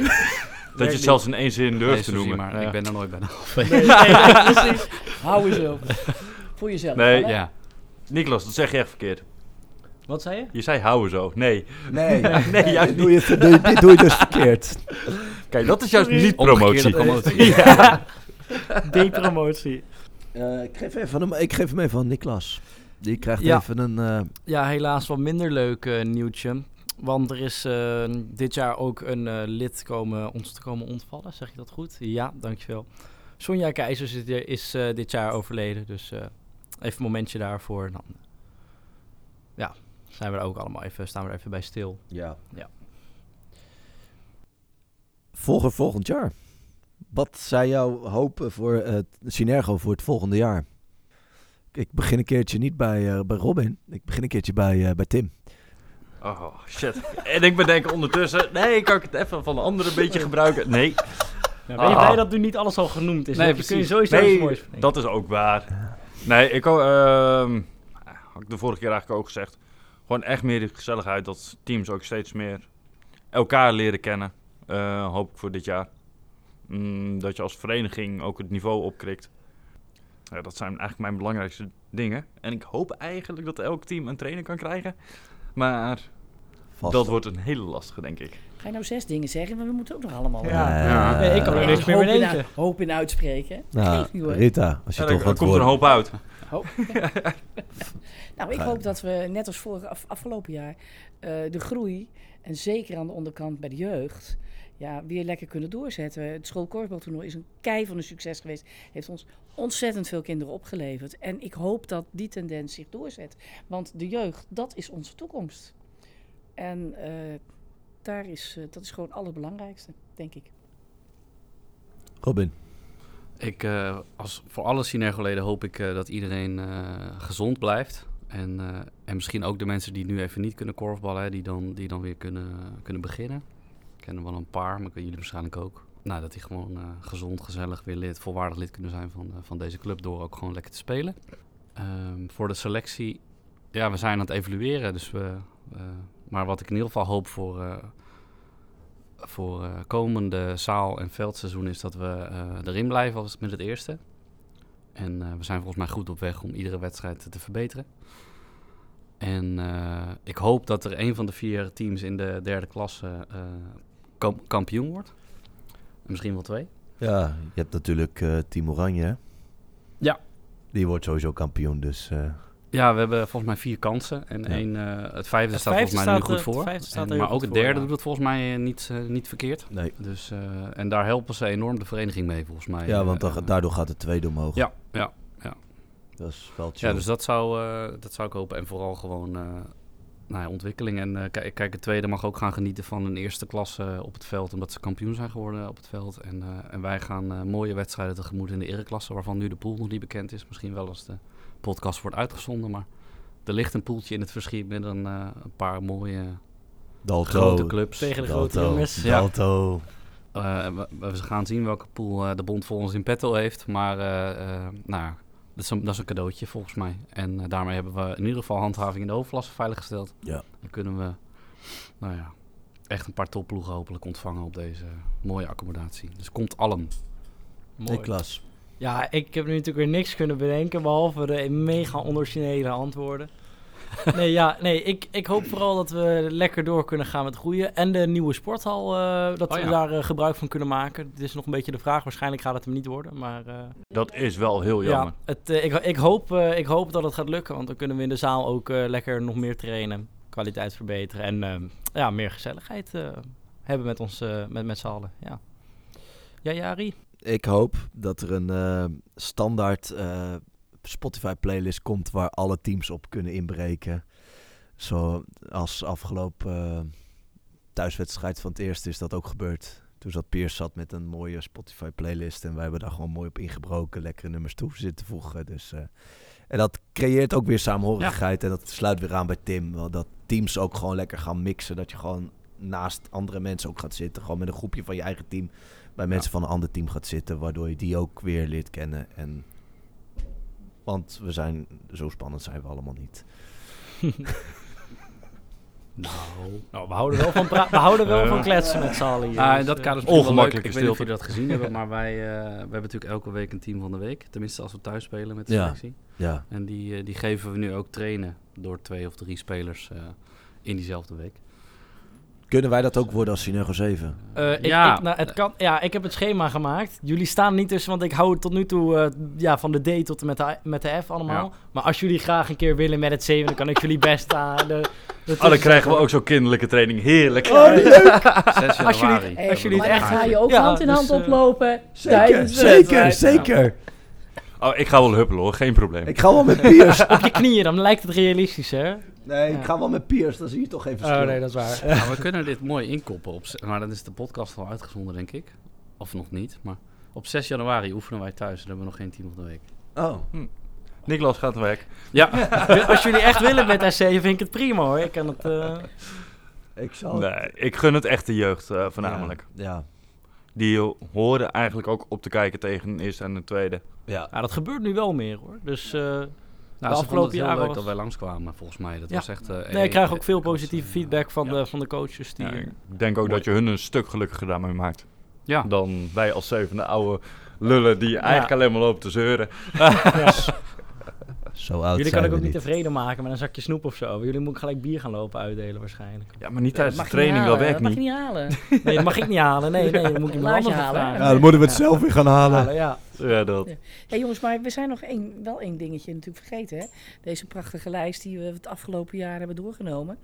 Speaker 3: Dat je het zelfs in één zin durft te
Speaker 2: Suzie,
Speaker 3: noemen.
Speaker 2: Maar
Speaker 3: Ja.
Speaker 2: ik ben er nooit bij de ALV.
Speaker 4: Nee, nee, precies. Hou jezelf. Voor jezelf.
Speaker 3: Nee.
Speaker 4: hè?
Speaker 2: Ja.
Speaker 3: Niklas, dat zeg je echt verkeerd.
Speaker 5: Wat zei je?
Speaker 3: Je zei houden zo. Nee.
Speaker 1: Nee,
Speaker 3: *laughs* Nee, juist
Speaker 1: dit doe je, dit doe je- dit doe je dus verkeerd.
Speaker 3: Kijk, dat is juist niet
Speaker 2: Omgekeerde
Speaker 3: promotie.
Speaker 2: promotie. *laughs*
Speaker 5: Depromotie.
Speaker 1: Eh, ik, geef even hem, ik geef hem even aan Niklas. Die krijgt
Speaker 5: Ja.
Speaker 1: even een... eh,
Speaker 5: Ja, helaas wat minder leuk eh, nieuwtje. Want er is eh, dit jaar ook een eh, lid komen, ons te komen ontvallen. Zeg ik dat goed? Ja, dankjewel. Sonja Keizers is, is eh, dit jaar overleden. Dus eh, even een momentje daarvoor. En Dan, ja, zijn we er ook allemaal even, staan we er even bij stil.
Speaker 1: ja.
Speaker 5: Ja.
Speaker 1: Volger volgend jaar. Wat zijn jouw hopen voor het Synergo voor het volgende jaar? Ik begin een keertje niet bij, eh, bij Robin. Ik begin een keertje bij, eh, bij Tim.
Speaker 3: Oh, shit. En ik bedenk ondertussen... Nee, kan ik het even van de andere beetje gebruiken? Nee,
Speaker 5: Nou,
Speaker 3: ben je blij
Speaker 5: dat nu niet alles al genoemd is?
Speaker 2: Nee, Want je
Speaker 5: kun je
Speaker 2: precies.
Speaker 5: sowieso
Speaker 3: Nee, dat is ook waar. Nee, ik ho- ehm, had ik de vorige keer eigenlijk ook gezegd. Gewoon echt meer de gezelligheid dat teams ook steeds meer elkaar leren kennen. eh, hoop ik voor dit jaar. Mm, dat je als vereniging ook het niveau opkrikt. Ja, dat zijn eigenlijk mijn belangrijkste dingen. En ik hoop eigenlijk dat elk team een trainer kan krijgen. Maar
Speaker 1: Vast.
Speaker 3: dat wordt een hele lastige, denk ik.
Speaker 4: Ga je nou zes dingen zeggen? Maar we moeten ook nog allemaal...
Speaker 1: Eh,
Speaker 2: Ja. Nee,
Speaker 5: ik kan er
Speaker 4: Ja,
Speaker 5: niks meer
Speaker 4: hoop in
Speaker 5: in eentje.
Speaker 4: uit- Hoop in uitspreken.
Speaker 1: nou,
Speaker 4: Geef niet, hoor.
Speaker 1: Rita, als je
Speaker 3: Ja,
Speaker 1: toch
Speaker 3: er, er
Speaker 1: wat
Speaker 3: komt er een
Speaker 1: wordt.
Speaker 3: hoop uit.
Speaker 4: Nou, ik
Speaker 1: Ga-
Speaker 4: hoop dat we, net als vorig, af- afgelopen jaar, eh, de groei, en zeker aan de onderkant bij de jeugd, ja, weer lekker kunnen doorzetten. Het schoolkorfbaltoernooi is een kei van een succes geweest. Heeft ons ontzettend veel kinderen opgeleverd. En ik hoop dat die tendens zich doorzet. Want de jeugd, dat is onze toekomst. En eh, daar is, eh, dat is gewoon het allerbelangrijkste, denk ik.
Speaker 1: Robin.
Speaker 2: Ik, eh, als voor alle Synergoleden hoop ik eh, dat iedereen eh, gezond blijft. En, eh, en misschien ook de mensen die nu even niet kunnen korfballen, hè, die, dan, die dan weer kunnen, kunnen beginnen. Ik ken er wel een paar, maar ik weet jullie waarschijnlijk ook. Nou, dat die gewoon eh, gezond, gezellig weer lid, volwaardig lid kunnen zijn van, eh, van deze club door ook gewoon lekker te spelen. Ehm, voor de selectie, ja, we zijn aan het evalueren. Dus we, eh, maar wat ik in ieder geval hoop voor, eh, voor eh, komende zaal- en veldseizoen is dat we eh, erin blijven als met het eerste. En eh, we zijn volgens mij goed op weg om iedere wedstrijd te verbeteren. En eh, ik hoop dat er een van de vier teams in de derde klasse eh, kam- kampioen wordt. En misschien wel twee.
Speaker 1: Ja, je hebt natuurlijk eh, Team Oranje. hè?
Speaker 2: Ja.
Speaker 1: Die wordt sowieso kampioen, dus... eh,
Speaker 2: Ja, we hebben volgens mij vier kansen. En
Speaker 1: Ja.
Speaker 2: één, eh, het vijfde
Speaker 5: Het
Speaker 2: staat
Speaker 5: vijfde
Speaker 2: volgens mij nu
Speaker 5: staat,
Speaker 2: goed
Speaker 5: eh,
Speaker 2: voor.
Speaker 5: het vijfde staat
Speaker 2: En-
Speaker 5: heel
Speaker 2: maar
Speaker 5: goed
Speaker 2: ook het
Speaker 5: voor,
Speaker 2: derde
Speaker 5: ja.
Speaker 2: doet het volgens mij eh, niet, eh, niet verkeerd.
Speaker 1: Nee.
Speaker 2: Dus, eh, en daar helpen ze enorm de vereniging mee, volgens mij.
Speaker 1: Ja, want
Speaker 2: Eh,
Speaker 1: da- daardoor gaat het tweede omhoog.
Speaker 2: Ja, ja, ja.
Speaker 1: Dat is wel chill.
Speaker 2: Ja, dus dat zou, eh, dat zou ik hopen. En vooral gewoon eh, nou ja, ontwikkeling. En eh, kijk, kijk, het tweede mag ook gaan genieten van een eerste klasse eh, op het veld. Omdat ze kampioen zijn geworden op het veld. En, eh, en wij gaan eh, mooie wedstrijden tegemoet in de ereklasse. Waarvan nu de pool nog niet bekend is. Misschien wel als de podcast wordt uitgezonden. Maar er ligt een poeltje in het verschiet met een, eh, een paar mooie
Speaker 1: Dalto.
Speaker 2: grote clubs.
Speaker 5: Tegen de grote
Speaker 1: Dalto.
Speaker 5: jongens.
Speaker 2: Ja.
Speaker 1: Dalto.
Speaker 2: Eh, we, we gaan zien welke pool eh, de bond voor ons in petto heeft. Maar eh, eh, nou, ja, dat, is een, dat is een cadeautje volgens mij. En eh, daarmee hebben we in ieder geval handhaving in de hoofdklasse veiliggesteld.
Speaker 1: Ja.
Speaker 2: Dan kunnen we nou ja, echt een paar topploegen hopelijk ontvangen op deze eh, mooie accommodatie. Dus komt allen.
Speaker 5: Mooi.
Speaker 1: Niklas.
Speaker 5: Ja, ik heb nu natuurlijk weer niks kunnen bedenken, behalve de mega onoriginele antwoorden. nee, ja, nee ik, ik hoop vooral dat we lekker door kunnen gaan met groeien. En de nieuwe sporthal, eh, dat
Speaker 2: Oh ja.
Speaker 5: we daar eh, gebruik van kunnen maken. Het is nog een beetje de vraag, waarschijnlijk gaat het hem niet worden. Maar eh,
Speaker 3: Dat is wel heel jammer.
Speaker 5: ja, het, eh, ik, ik, hoop, eh, ik hoop dat het gaat lukken, want dan kunnen we in de zaal ook eh, lekker nog meer trainen. Kwaliteit verbeteren en eh, ja, meer gezelligheid eh, hebben met, ons, eh, met, met z'n allen. Ja, ja Jari?
Speaker 1: Ik hoop dat er een eh, standaard eh, Spotify-playlist komt waar alle teams op kunnen inbreken. Zoals afgelopen eh, thuiswedstrijd van het eerste is dat ook gebeurd. Toen zat Piers zat met een mooie Spotify-playlist en wij hebben daar gewoon mooi op ingebroken. Lekkere nummers toe zitten voegen. Dus, eh, en dat creëert ook weer saamhorigheid en dat sluit weer aan bij Tim. wel Dat teams ook gewoon lekker gaan mixen. Dat je gewoon naast andere mensen ook gaat zitten. Gewoon met een groepje van je eigen team bij mensen van een ander team gaat zitten, waardoor je die ook weer leert kennen. En... Want we zijn, zo spannend zijn we allemaal niet.
Speaker 2: Nou.
Speaker 5: *laughs* Nou, we houden wel van, pra- we houden
Speaker 1: Eh.
Speaker 5: wel van kletsen met z'n allen hier.
Speaker 2: Ah, in
Speaker 5: dus,
Speaker 2: dat
Speaker 5: eh,
Speaker 2: kader is misschien wel leuk. Ik
Speaker 3: ongemakkelijke
Speaker 2: weet niet of
Speaker 3: stilte.
Speaker 2: jullie dat gezien hebben, maar wij, eh, we hebben natuurlijk elke week een team van de week. Tenminste, als we thuis spelen met de
Speaker 1: Ja.
Speaker 2: selectie.
Speaker 1: Ja,
Speaker 2: En die, eh, die geven we nu ook trainen door twee of drie spelers eh, in diezelfde week.
Speaker 1: kunnen wij dat ook worden als Synergo 7?
Speaker 5: Eh, ik,
Speaker 2: Ja.
Speaker 5: ik, nou, het kan, ja, ik heb het schema gemaakt. Jullie staan niet tussen, want ik hou tot nu toe eh, ja, van de D tot en met de, met de F allemaal.
Speaker 2: Ja.
Speaker 5: Maar als jullie graag een keer willen met het 7, dan kan ik jullie best aan. De, de
Speaker 3: Oh, dan krijgen
Speaker 1: eh,
Speaker 3: we ook zo'n kinderlijke training. Heerlijk.
Speaker 1: Oh,
Speaker 5: Als jullie-
Speaker 4: Eh,
Speaker 2: januari.
Speaker 5: als jullie
Speaker 4: maar
Speaker 5: het
Speaker 4: dan
Speaker 5: echt-
Speaker 4: ga je ook
Speaker 5: Ja,
Speaker 4: hand in
Speaker 5: dus,
Speaker 4: hand
Speaker 5: eh,
Speaker 4: oplopen.
Speaker 1: Zeker,
Speaker 4: tijdens de
Speaker 1: zeker,
Speaker 4: wedstrijd.
Speaker 1: zeker.
Speaker 5: nou.
Speaker 3: Oh, ik ga wel huppelen hoor, geen probleem.
Speaker 1: Ik ga wel met
Speaker 5: *laughs*
Speaker 1: Piers.
Speaker 5: op je knieën, dan lijkt het realistisch, hè?
Speaker 1: Nee, ik ga wel met Piers, dan zie je toch geen verschil.
Speaker 5: Oh, dat is waar.
Speaker 1: *laughs*
Speaker 2: Ja, we kunnen dit mooi inkoppen. Op, z- maar dan is de podcast al uitgezonden, denk ik. Of nog niet. Maar op 6 januari oefenen wij thuis. Dan hebben we nog geen team van de week.
Speaker 1: Oh,
Speaker 5: Hm.
Speaker 3: Niklas gaat weg.
Speaker 2: Ja,
Speaker 5: *laughs* Als jullie echt willen met SC, vind ik het prima hoor. Ik kan het, eh,
Speaker 1: ik
Speaker 5: Oh.
Speaker 1: zal...
Speaker 3: Nee, ik gun het echt de jeugd eh, voornamelijk.
Speaker 1: Ja,
Speaker 3: Die horen eigenlijk ook op te kijken tegen een eerste en een tweede.
Speaker 1: ja.
Speaker 5: ja, dat gebeurt nu wel meer hoor. Dus eh,
Speaker 2: nou, ze vonden het
Speaker 5: afgelopen
Speaker 2: heel
Speaker 5: jaar
Speaker 2: leuk
Speaker 5: was-
Speaker 2: dat wij langskwamen, volgens mij. Dat
Speaker 5: Ja.
Speaker 2: was echt... eh,
Speaker 5: nee, ik krijg
Speaker 2: eh,
Speaker 5: ook veel
Speaker 2: eh,
Speaker 5: positieve
Speaker 2: kansen, eh,
Speaker 5: feedback van,
Speaker 2: ja.
Speaker 5: de, van de coaches. Die,
Speaker 3: Ja, ik denk ook
Speaker 2: Mooi.
Speaker 3: dat je hun een stuk gelukkiger daarmee maakt.
Speaker 2: Ja.
Speaker 3: Dan wij als zevende oude lullen die eigenlijk alleen maar lopen te zeuren. *laughs*
Speaker 1: Zo oud
Speaker 5: Jullie
Speaker 1: zijn
Speaker 5: kan ik
Speaker 1: Oh, we
Speaker 5: ook niet
Speaker 1: niet.
Speaker 5: tevreden maken met een zakje snoep of zo. Jullie moeten gelijk bier gaan lopen uitdelen waarschijnlijk.
Speaker 3: Ja, maar niet
Speaker 4: Dat
Speaker 3: tijdens
Speaker 4: mag
Speaker 3: de
Speaker 4: je niet
Speaker 3: training, dat
Speaker 4: halen,
Speaker 3: werkt
Speaker 4: *laughs* mag
Speaker 3: niet.
Speaker 4: je niet halen. *laughs*
Speaker 5: Nee, dat mag ik niet halen. Nee, nee, dat moet ik iemand
Speaker 4: Laat je
Speaker 5: anders
Speaker 4: halen.
Speaker 5: halen.
Speaker 1: Ja, dan moeten we het zelf weer gaan halen.
Speaker 5: ja.
Speaker 3: Ja, dat.
Speaker 4: Ja, jongens, maar we zijn nog één, wel één dingetje natuurlijk vergeten. Hè? Deze prachtige lijst die we het afgelopen jaar hebben doorgenomen.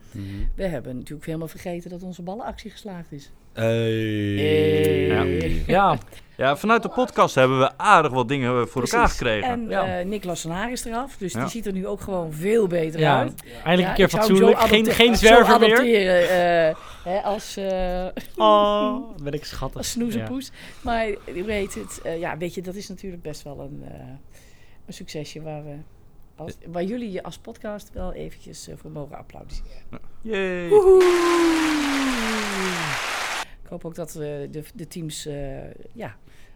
Speaker 4: We hebben natuurlijk helemaal vergeten dat onze ballenactie geslaagd is.
Speaker 3: Hey.
Speaker 5: Ja,
Speaker 3: Ja, vanuit de podcast hebben we aardig wat dingen voor elkaar
Speaker 4: Precies.
Speaker 3: gekregen.
Speaker 4: En
Speaker 5: Ja.
Speaker 4: eh, Nick Lassenaar is eraf, dus
Speaker 3: Ja.
Speaker 4: die ziet er nu ook gewoon veel beter
Speaker 5: Ja,
Speaker 4: uit.
Speaker 5: eindelijk
Speaker 4: Ja,
Speaker 5: een keer
Speaker 4: ik zou hem
Speaker 5: fatsoenlijk.
Speaker 4: zo
Speaker 5: Geen,
Speaker 4: adopte-
Speaker 5: geen
Speaker 4: zo
Speaker 5: zwerver meer.
Speaker 4: adopteren, eh, hè, als, eh
Speaker 5: *laughs* Oh, ben ik schattig.
Speaker 4: als
Speaker 5: Ja.
Speaker 4: snoezenpoes. Maar je weet het, eh, ja, weet je, dat is natuurlijk best wel een, eh, een succesje waar we... Als, waar jullie je als podcast wel eventjes eh, voor mogen applaudisseren.
Speaker 3: Yay.
Speaker 4: Ik hoop ook dat eh, de, de teams eh, ja,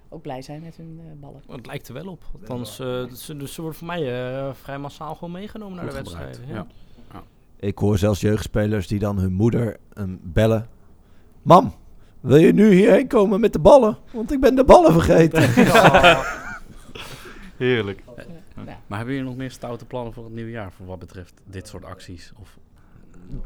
Speaker 4: ook blij zijn met hun eh, ballen.
Speaker 5: Want Het lijkt er wel op. Althans, eh, ze, dus ze worden voor mij eh, vrij massaal gewoon meegenomen naar de
Speaker 2: Goed gebruikt,
Speaker 5: wedstrijden. Ja.
Speaker 2: ja.
Speaker 1: Ik hoor zelfs jeugdspelers die dan hun moeder hem bellen. Mam, wil je nu hierheen komen met de ballen? Want ik ben de ballen
Speaker 3: *laughs*
Speaker 1: vergeten.
Speaker 3: Heerlijk.
Speaker 2: Maar hebben jullie nog meer stoute plannen voor het nieuwe jaar? Voor wat betreft dit soort acties? Of...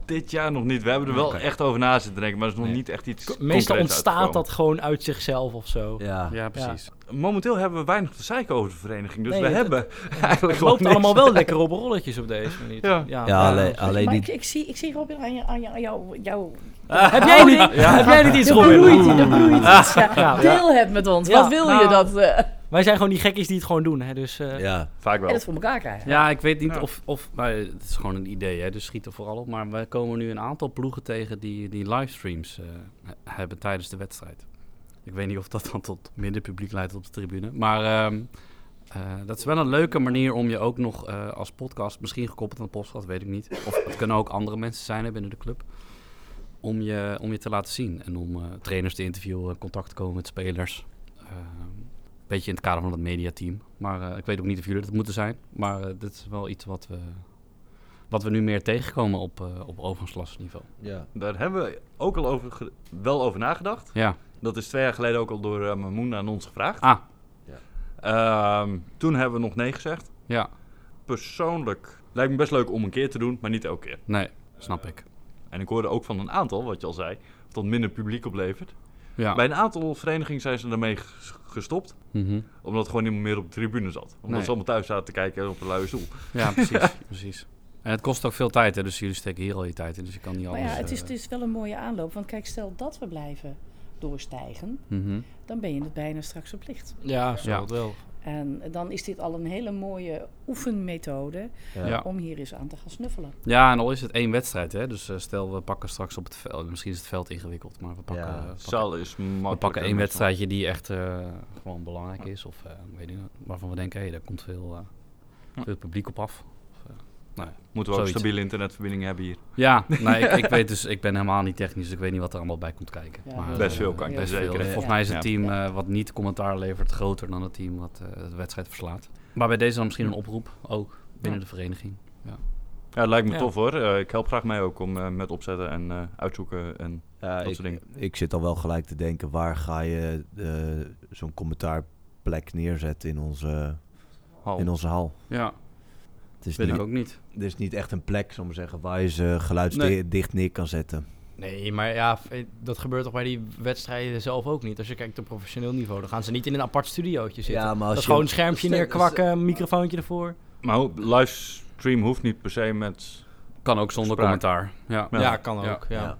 Speaker 3: Dit jaar nog niet. We hebben er wel
Speaker 2: Oké.
Speaker 3: echt over na zitten denken, maar er is nog
Speaker 2: Nee.
Speaker 3: niet echt iets
Speaker 5: Meestal
Speaker 3: concreets
Speaker 5: ontstaat
Speaker 3: uitgekomen.
Speaker 5: dat gewoon uit zichzelf of zo.
Speaker 1: ja.
Speaker 2: Ja, precies.
Speaker 3: Momenteel hebben we weinig te zeiken over de vereniging, dus
Speaker 5: Nee,
Speaker 3: we
Speaker 5: het-
Speaker 3: hebben eigenlijk
Speaker 5: Het loopt
Speaker 3: gewoon niks.
Speaker 5: allemaal
Speaker 3: *laughs*
Speaker 5: wel lekker op rolletjes op deze manier.
Speaker 3: Ja.
Speaker 1: Ja, alleen, alleen
Speaker 4: maar
Speaker 1: die...
Speaker 4: ik, ik zie, ik zie Robin aan, je, aan, je, aan jou, jou
Speaker 5: *laughs* Heb,
Speaker 3: Oh,
Speaker 5: jij niet, Ah. Oh, heb jij niet iets,
Speaker 4: Er
Speaker 5: Robin?
Speaker 4: bloeit, er bloeit
Speaker 3: *laughs*
Speaker 4: iets. Ja.
Speaker 5: Ja.
Speaker 4: Deel het met ons.
Speaker 5: Ja,
Speaker 4: Wat wil
Speaker 5: nou.
Speaker 4: je dat? eh,
Speaker 5: Wij zijn gewoon die gekkies die het gewoon doen. Hè? Dus, eh,
Speaker 1: Ja.
Speaker 3: Vaak
Speaker 4: en
Speaker 3: wel.
Speaker 4: dat voor elkaar krijgen.
Speaker 2: Ja, ik weet niet
Speaker 3: Ja.
Speaker 2: of... of maar het is gewoon een idee, hè, dus schiet er vooral op. Maar we komen nu een aantal ploegen tegen die, die livestreams eh, he- hebben tijdens de wedstrijd. Ik weet niet of dat dan tot minder publiek leidt op de tribune. Maar ehm, eh, dat is wel een leuke manier om je ook nog eh, als podcast... Misschien gekoppeld aan de podcast, weet ik niet. Of het kunnen ook andere mensen zijn hè, binnen de club. Om je, om je te laten zien. En om eh, trainers te interviewen, contact te komen met spelers. Ehm, beetje in het kader van het mediateam. Maar eh, ik weet ook niet of jullie dat moeten zijn. Maar eh, dit is wel iets wat we, wat we nu meer tegenkomen op, eh op overgangslasniveau.
Speaker 1: Ja.
Speaker 3: Daar hebben we ook al over ge- wel over nagedacht.
Speaker 2: Ja,
Speaker 3: Dat is twee jaar geleden ook al door eh, Mamoen aan ons gevraagd.
Speaker 2: Ah.
Speaker 3: Ehm, toen hebben we nog nee gezegd.
Speaker 2: ja.
Speaker 3: Persoonlijk lijkt me best leuk om een keer te doen, maar niet elke keer.
Speaker 2: Nee, snap ik.
Speaker 3: En ik hoorde ook van een aantal, wat je al zei, dat minder publiek oplevert.
Speaker 2: Ja.
Speaker 3: Bij een aantal verenigingen zijn ze daarmee ges- gestopt,
Speaker 2: Mhm.
Speaker 3: omdat het gewoon niemand meer op de tribune zat. Omdat
Speaker 2: Nee.
Speaker 3: ze allemaal thuis zaten te kijken op een luie stoel.
Speaker 2: ja, precies. precies. En het kost ook veel tijd, hè? dus jullie steken hier al je tijd in. Dus je kan niet
Speaker 4: Maar
Speaker 2: alles...
Speaker 4: ja, het is,
Speaker 2: eh,
Speaker 4: het is wel een mooie aanloop. Want kijk, stel dat we blijven doorstijgen,
Speaker 2: mhm.
Speaker 4: dan ben je het bijna straks verplicht.
Speaker 5: ja, zo
Speaker 2: Ja.
Speaker 5: dat wel.
Speaker 4: En dan is dit al een hele mooie oefenmethode
Speaker 1: Ja.
Speaker 2: Ja.
Speaker 4: om hier eens aan te gaan snuffelen.
Speaker 2: Ja, en al is het één wedstrijd, hè? dus eh, stel we pakken straks op het veld... Misschien is het veld ingewikkeld, maar we pakken...
Speaker 1: Ja.
Speaker 2: we pakken-
Speaker 3: Zaal is makkelijk.
Speaker 2: we pakken één wedstrijdje die echt eh, gewoon belangrijk is. Of eh, weet ik, niet, waarvan we denken, hé, daar komt veel, eh,
Speaker 3: Ja.
Speaker 2: veel publiek op af. eh, nou
Speaker 3: Moeten we ook
Speaker 2: Zoiets.
Speaker 3: stabiele internetverbindingen hebben hier. *laughs*
Speaker 2: Ja, nee, ik, ik weet dus, ik ben helemaal niet technisch, dus ik weet niet wat er allemaal bij komt kijken.
Speaker 4: Ja,
Speaker 2: Maar,
Speaker 3: Best
Speaker 2: eh,
Speaker 3: veel kan ik
Speaker 4: Heel
Speaker 2: best
Speaker 3: je
Speaker 2: veel.
Speaker 3: zeker.
Speaker 2: Volgens mij is het
Speaker 3: Ja.
Speaker 2: team eh, wat niet commentaar levert groter dan het team wat eh, de wedstrijd verslaat. Maar bij deze dan misschien een oproep ook binnen de vereniging.
Speaker 3: Ja, lijkt me
Speaker 5: Ja.
Speaker 3: tof hoor. Eh, ik help graag mee ook om eh, met opzetten en eh, uitzoeken. En...
Speaker 1: Ja,
Speaker 3: Dat
Speaker 1: ik,
Speaker 3: soort dingen.
Speaker 1: ik zit al wel gelijk te denken, waar ga je eh, zo'n commentaarplek neerzetten in onze,
Speaker 3: Hal.
Speaker 1: in onze hal?
Speaker 2: Ja,
Speaker 1: Het is,
Speaker 2: weet
Speaker 1: niet,
Speaker 2: ik ook niet.
Speaker 1: het is niet echt een plek, zullen we zeggen, waar je ze geluidsdicht neer kan zetten.
Speaker 5: Nee, maar ja, f- eh, dat gebeurt toch bij die wedstrijden zelf ook niet. Als je kijkt op professioneel niveau, dan gaan ze niet in een apart studiootje zitten.
Speaker 1: maar
Speaker 5: dat is gewoon een schermpje neerkwakken, een microfoontje ervoor.
Speaker 3: Maar ho- livestream hoeft niet per se met...
Speaker 2: Kan ook zonder
Speaker 3: Spraak.
Speaker 2: commentaar. Ja.
Speaker 3: Ja.
Speaker 5: Ja, kan ook. Ja.
Speaker 1: Ja.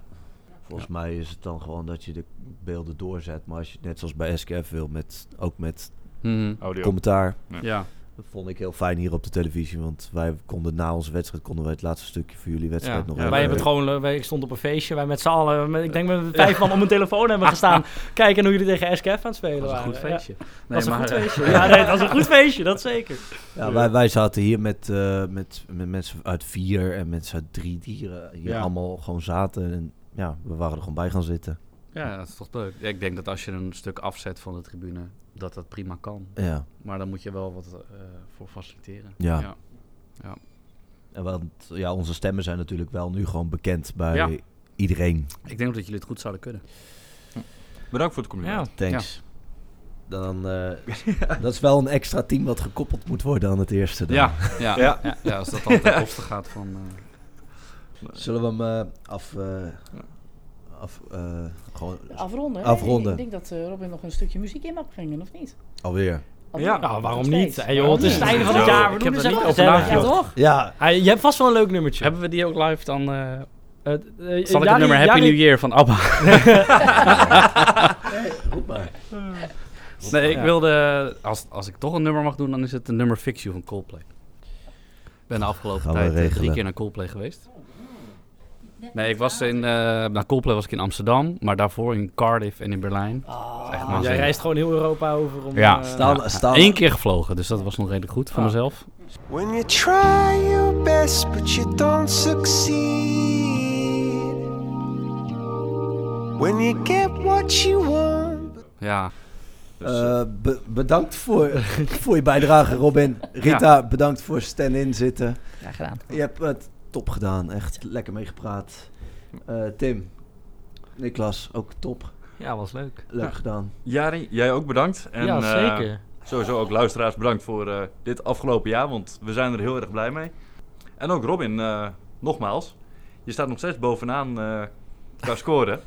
Speaker 1: Volgens mij is het dan gewoon dat je de beelden doorzet. Maar als je het net zoals bij SKF wil, met, ook met
Speaker 2: Mhm.
Speaker 3: Audio.
Speaker 1: commentaar.
Speaker 2: ja.
Speaker 1: Dat vond ik heel fijn hier op de televisie. Want wij konden na onze wedstrijd konden wij het laatste stukje voor jullie wedstrijd
Speaker 5: Ja.
Speaker 1: nog
Speaker 5: Ja,
Speaker 1: even-
Speaker 5: wij hebben het gewoon, eh, wij, ik stond op een feestje, wij met z'n allen, met- ik denk met vijf man om een telefoon hebben
Speaker 2: *laughs*
Speaker 5: gestaan, kijken hoe jullie tegen SKF aan het spelen
Speaker 2: Dat was een
Speaker 5: waren.
Speaker 2: goed feestje. Nee,
Speaker 5: Ja, dat was een
Speaker 2: maar,
Speaker 5: goed
Speaker 2: eh,
Speaker 5: feestje. Ja, nee, dat was een goed feestje, dat zeker.
Speaker 1: Ja, wij, wij zaten hier met, eh, met, met mensen uit vier en mensen uit drie dieren. Hier
Speaker 2: Ja.
Speaker 1: allemaal gewoon zaten. En ja, we waren er gewoon bij gaan zitten.
Speaker 2: Ja, dat is toch leuk. Ja, ik denk dat als je een stuk afzet van de tribune, dat dat prima kan.
Speaker 1: Ja.
Speaker 2: Maar dan moet je wel wat eh, voor faciliteren.
Speaker 1: Ja.
Speaker 2: ja.
Speaker 1: En want ja, onze stemmen zijn natuurlijk wel nu gewoon bekend bij
Speaker 2: Ja.
Speaker 1: iedereen.
Speaker 2: Ik denk ook dat jullie het goed zouden kunnen.
Speaker 3: Bedankt voor het
Speaker 5: Ja.
Speaker 3: compliment.
Speaker 1: Thanks. Dan, eh, *laughs* dat is wel een extra team wat gekoppeld moet worden aan het eerste. Dan.
Speaker 2: Ja, ja,
Speaker 3: Ja.
Speaker 2: ja. ja, als dat dan
Speaker 5: *laughs*
Speaker 2: ten koste gaat van... eh,
Speaker 1: Zullen we hem eh, af... eh, af eh, gewoon
Speaker 4: Afronden.
Speaker 1: Afronden.
Speaker 4: Ik denk dat eh, Robin nog een stukje muziek in mag brengen, of niet?
Speaker 1: alweer.
Speaker 5: Ja, nou, waarom
Speaker 4: Nog
Speaker 5: niet?
Speaker 4: steeds.
Speaker 5: Hey, joh, het is het einde van het
Speaker 2: Zo,
Speaker 5: jaar. We
Speaker 2: ik heb
Speaker 5: doen eens
Speaker 2: er
Speaker 5: even
Speaker 2: niet over
Speaker 5: gezellig. Ja,
Speaker 2: nagedacht.
Speaker 5: toch?
Speaker 1: Ja,
Speaker 5: Hey, je hebt vast wel een leuk nummertje.
Speaker 2: Hebben we die ook live dan? eh,
Speaker 5: Eh, eh,
Speaker 2: zal ik
Speaker 5: Jari-
Speaker 2: het nummer Happy
Speaker 5: Jari-
Speaker 2: New Year van *laughs*
Speaker 1: *laughs*
Speaker 2: ABBA?
Speaker 1: Goed maar.
Speaker 2: *laughs* Nee, ik
Speaker 5: Ja.
Speaker 2: wilde... Als, als ik toch een nummer mag doen, dan is het een nummer Fix You van Coldplay. Ik ben de afgelopen
Speaker 1: Gaan we
Speaker 2: tijd eh, drie
Speaker 1: regelen.
Speaker 2: keer naar Coldplay geweest. Nee, ik was in... eh naar Coldplay was ik in Amsterdam, maar daarvoor in Cardiff en in Berlijn. Dat is echt
Speaker 5: Ah, Jij
Speaker 2: waanzinnig.
Speaker 5: reist gewoon heel Europa over om...
Speaker 2: Ja.
Speaker 5: eh,
Speaker 1: Staan,
Speaker 2: Ja,
Speaker 1: staan.
Speaker 2: Eén keer gevlogen, dus dat was nog redelijk goed voor
Speaker 5: Ah.
Speaker 2: mezelf.
Speaker 12: When you try your best but you don't succeed. When you get what you want.
Speaker 2: Ja, dus,
Speaker 1: Eh, be- bedankt voor, *laughs* voor je bijdrage, Robin. Rita, bedankt voor stand-in zitten.
Speaker 4: Graag gedaan.
Speaker 1: Je hebt het top gedaan. Echt lekker meegepraat. Eh, Tim, Niklas, ook top.
Speaker 5: Ja, was leuk.
Speaker 1: Leuk gedaan.
Speaker 3: Jari, jij ook bedankt. En,
Speaker 5: ja,
Speaker 3: eh,
Speaker 5: zeker.
Speaker 3: Sowieso ook luisteraars bedankt voor eh, dit afgelopen jaar, want we zijn er heel erg blij mee. En ook Robin, eh, nogmaals, je staat nog steeds bovenaan eh, qua scoren.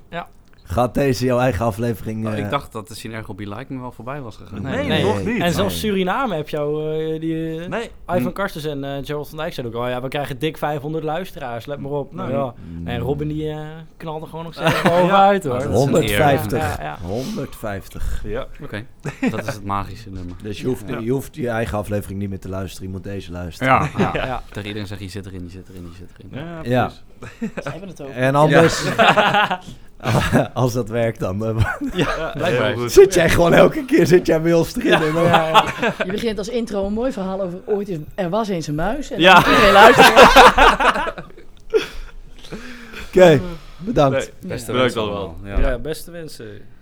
Speaker 1: Gaat deze jouw eigen aflevering...
Speaker 2: Oh,
Speaker 1: eh,
Speaker 2: ik dacht dat de Synergo Be Like me wel voorbij was gegaan.
Speaker 5: Nee,
Speaker 3: Nee,
Speaker 5: nee.
Speaker 3: nog niet.
Speaker 5: En zelfs
Speaker 1: Nee.
Speaker 5: Suriname heb jou eh, die... eh,
Speaker 3: Nee,
Speaker 2: Mm.
Speaker 5: Ivan Karstens en eh, Gerald van Dijk zeiden ook al, ja, we krijgen dik 500 luisteraars, let maar op. Nou,
Speaker 3: Nou,
Speaker 5: ja. En Robin die eh, knalde gewoon nog
Speaker 2: *laughs*
Speaker 5: steeds bovenuit hoor.
Speaker 2: dat is een eer.
Speaker 1: 150.
Speaker 5: Ja, ja.
Speaker 1: 150.
Speaker 3: ja.
Speaker 2: Oké, dat is het magische nummer.
Speaker 1: Dus je hoeft,
Speaker 2: Ja.
Speaker 1: je hoeft je eigen aflevering niet meer te luisteren. Je moet deze luisteren.
Speaker 2: Ja, *laughs* ja.
Speaker 5: Ja, ja.
Speaker 2: Tegen iedereen zeg je zit erin, die zit erin, die zit erin.
Speaker 3: Ja,
Speaker 1: Ja.
Speaker 3: precies.
Speaker 4: Ze hebben het over.
Speaker 1: En anders... *laughs* Als dat werkt, dan eh,
Speaker 3: Ja,
Speaker 2: blijkbaar.
Speaker 3: heel goed.
Speaker 1: zit jij gewoon elke keer zit jij bij ons erin. En dan-
Speaker 4: Je begint als intro een mooi verhaal over ooit is, er was eens een muis. En
Speaker 5: Ja.
Speaker 4: ja. iedereen luisteren.
Speaker 1: Oké, bedankt.
Speaker 3: Nee,
Speaker 2: Beste
Speaker 3: Bedankt
Speaker 2: wensen
Speaker 3: allemaal.
Speaker 2: allemaal.
Speaker 5: Ja, beste wensen.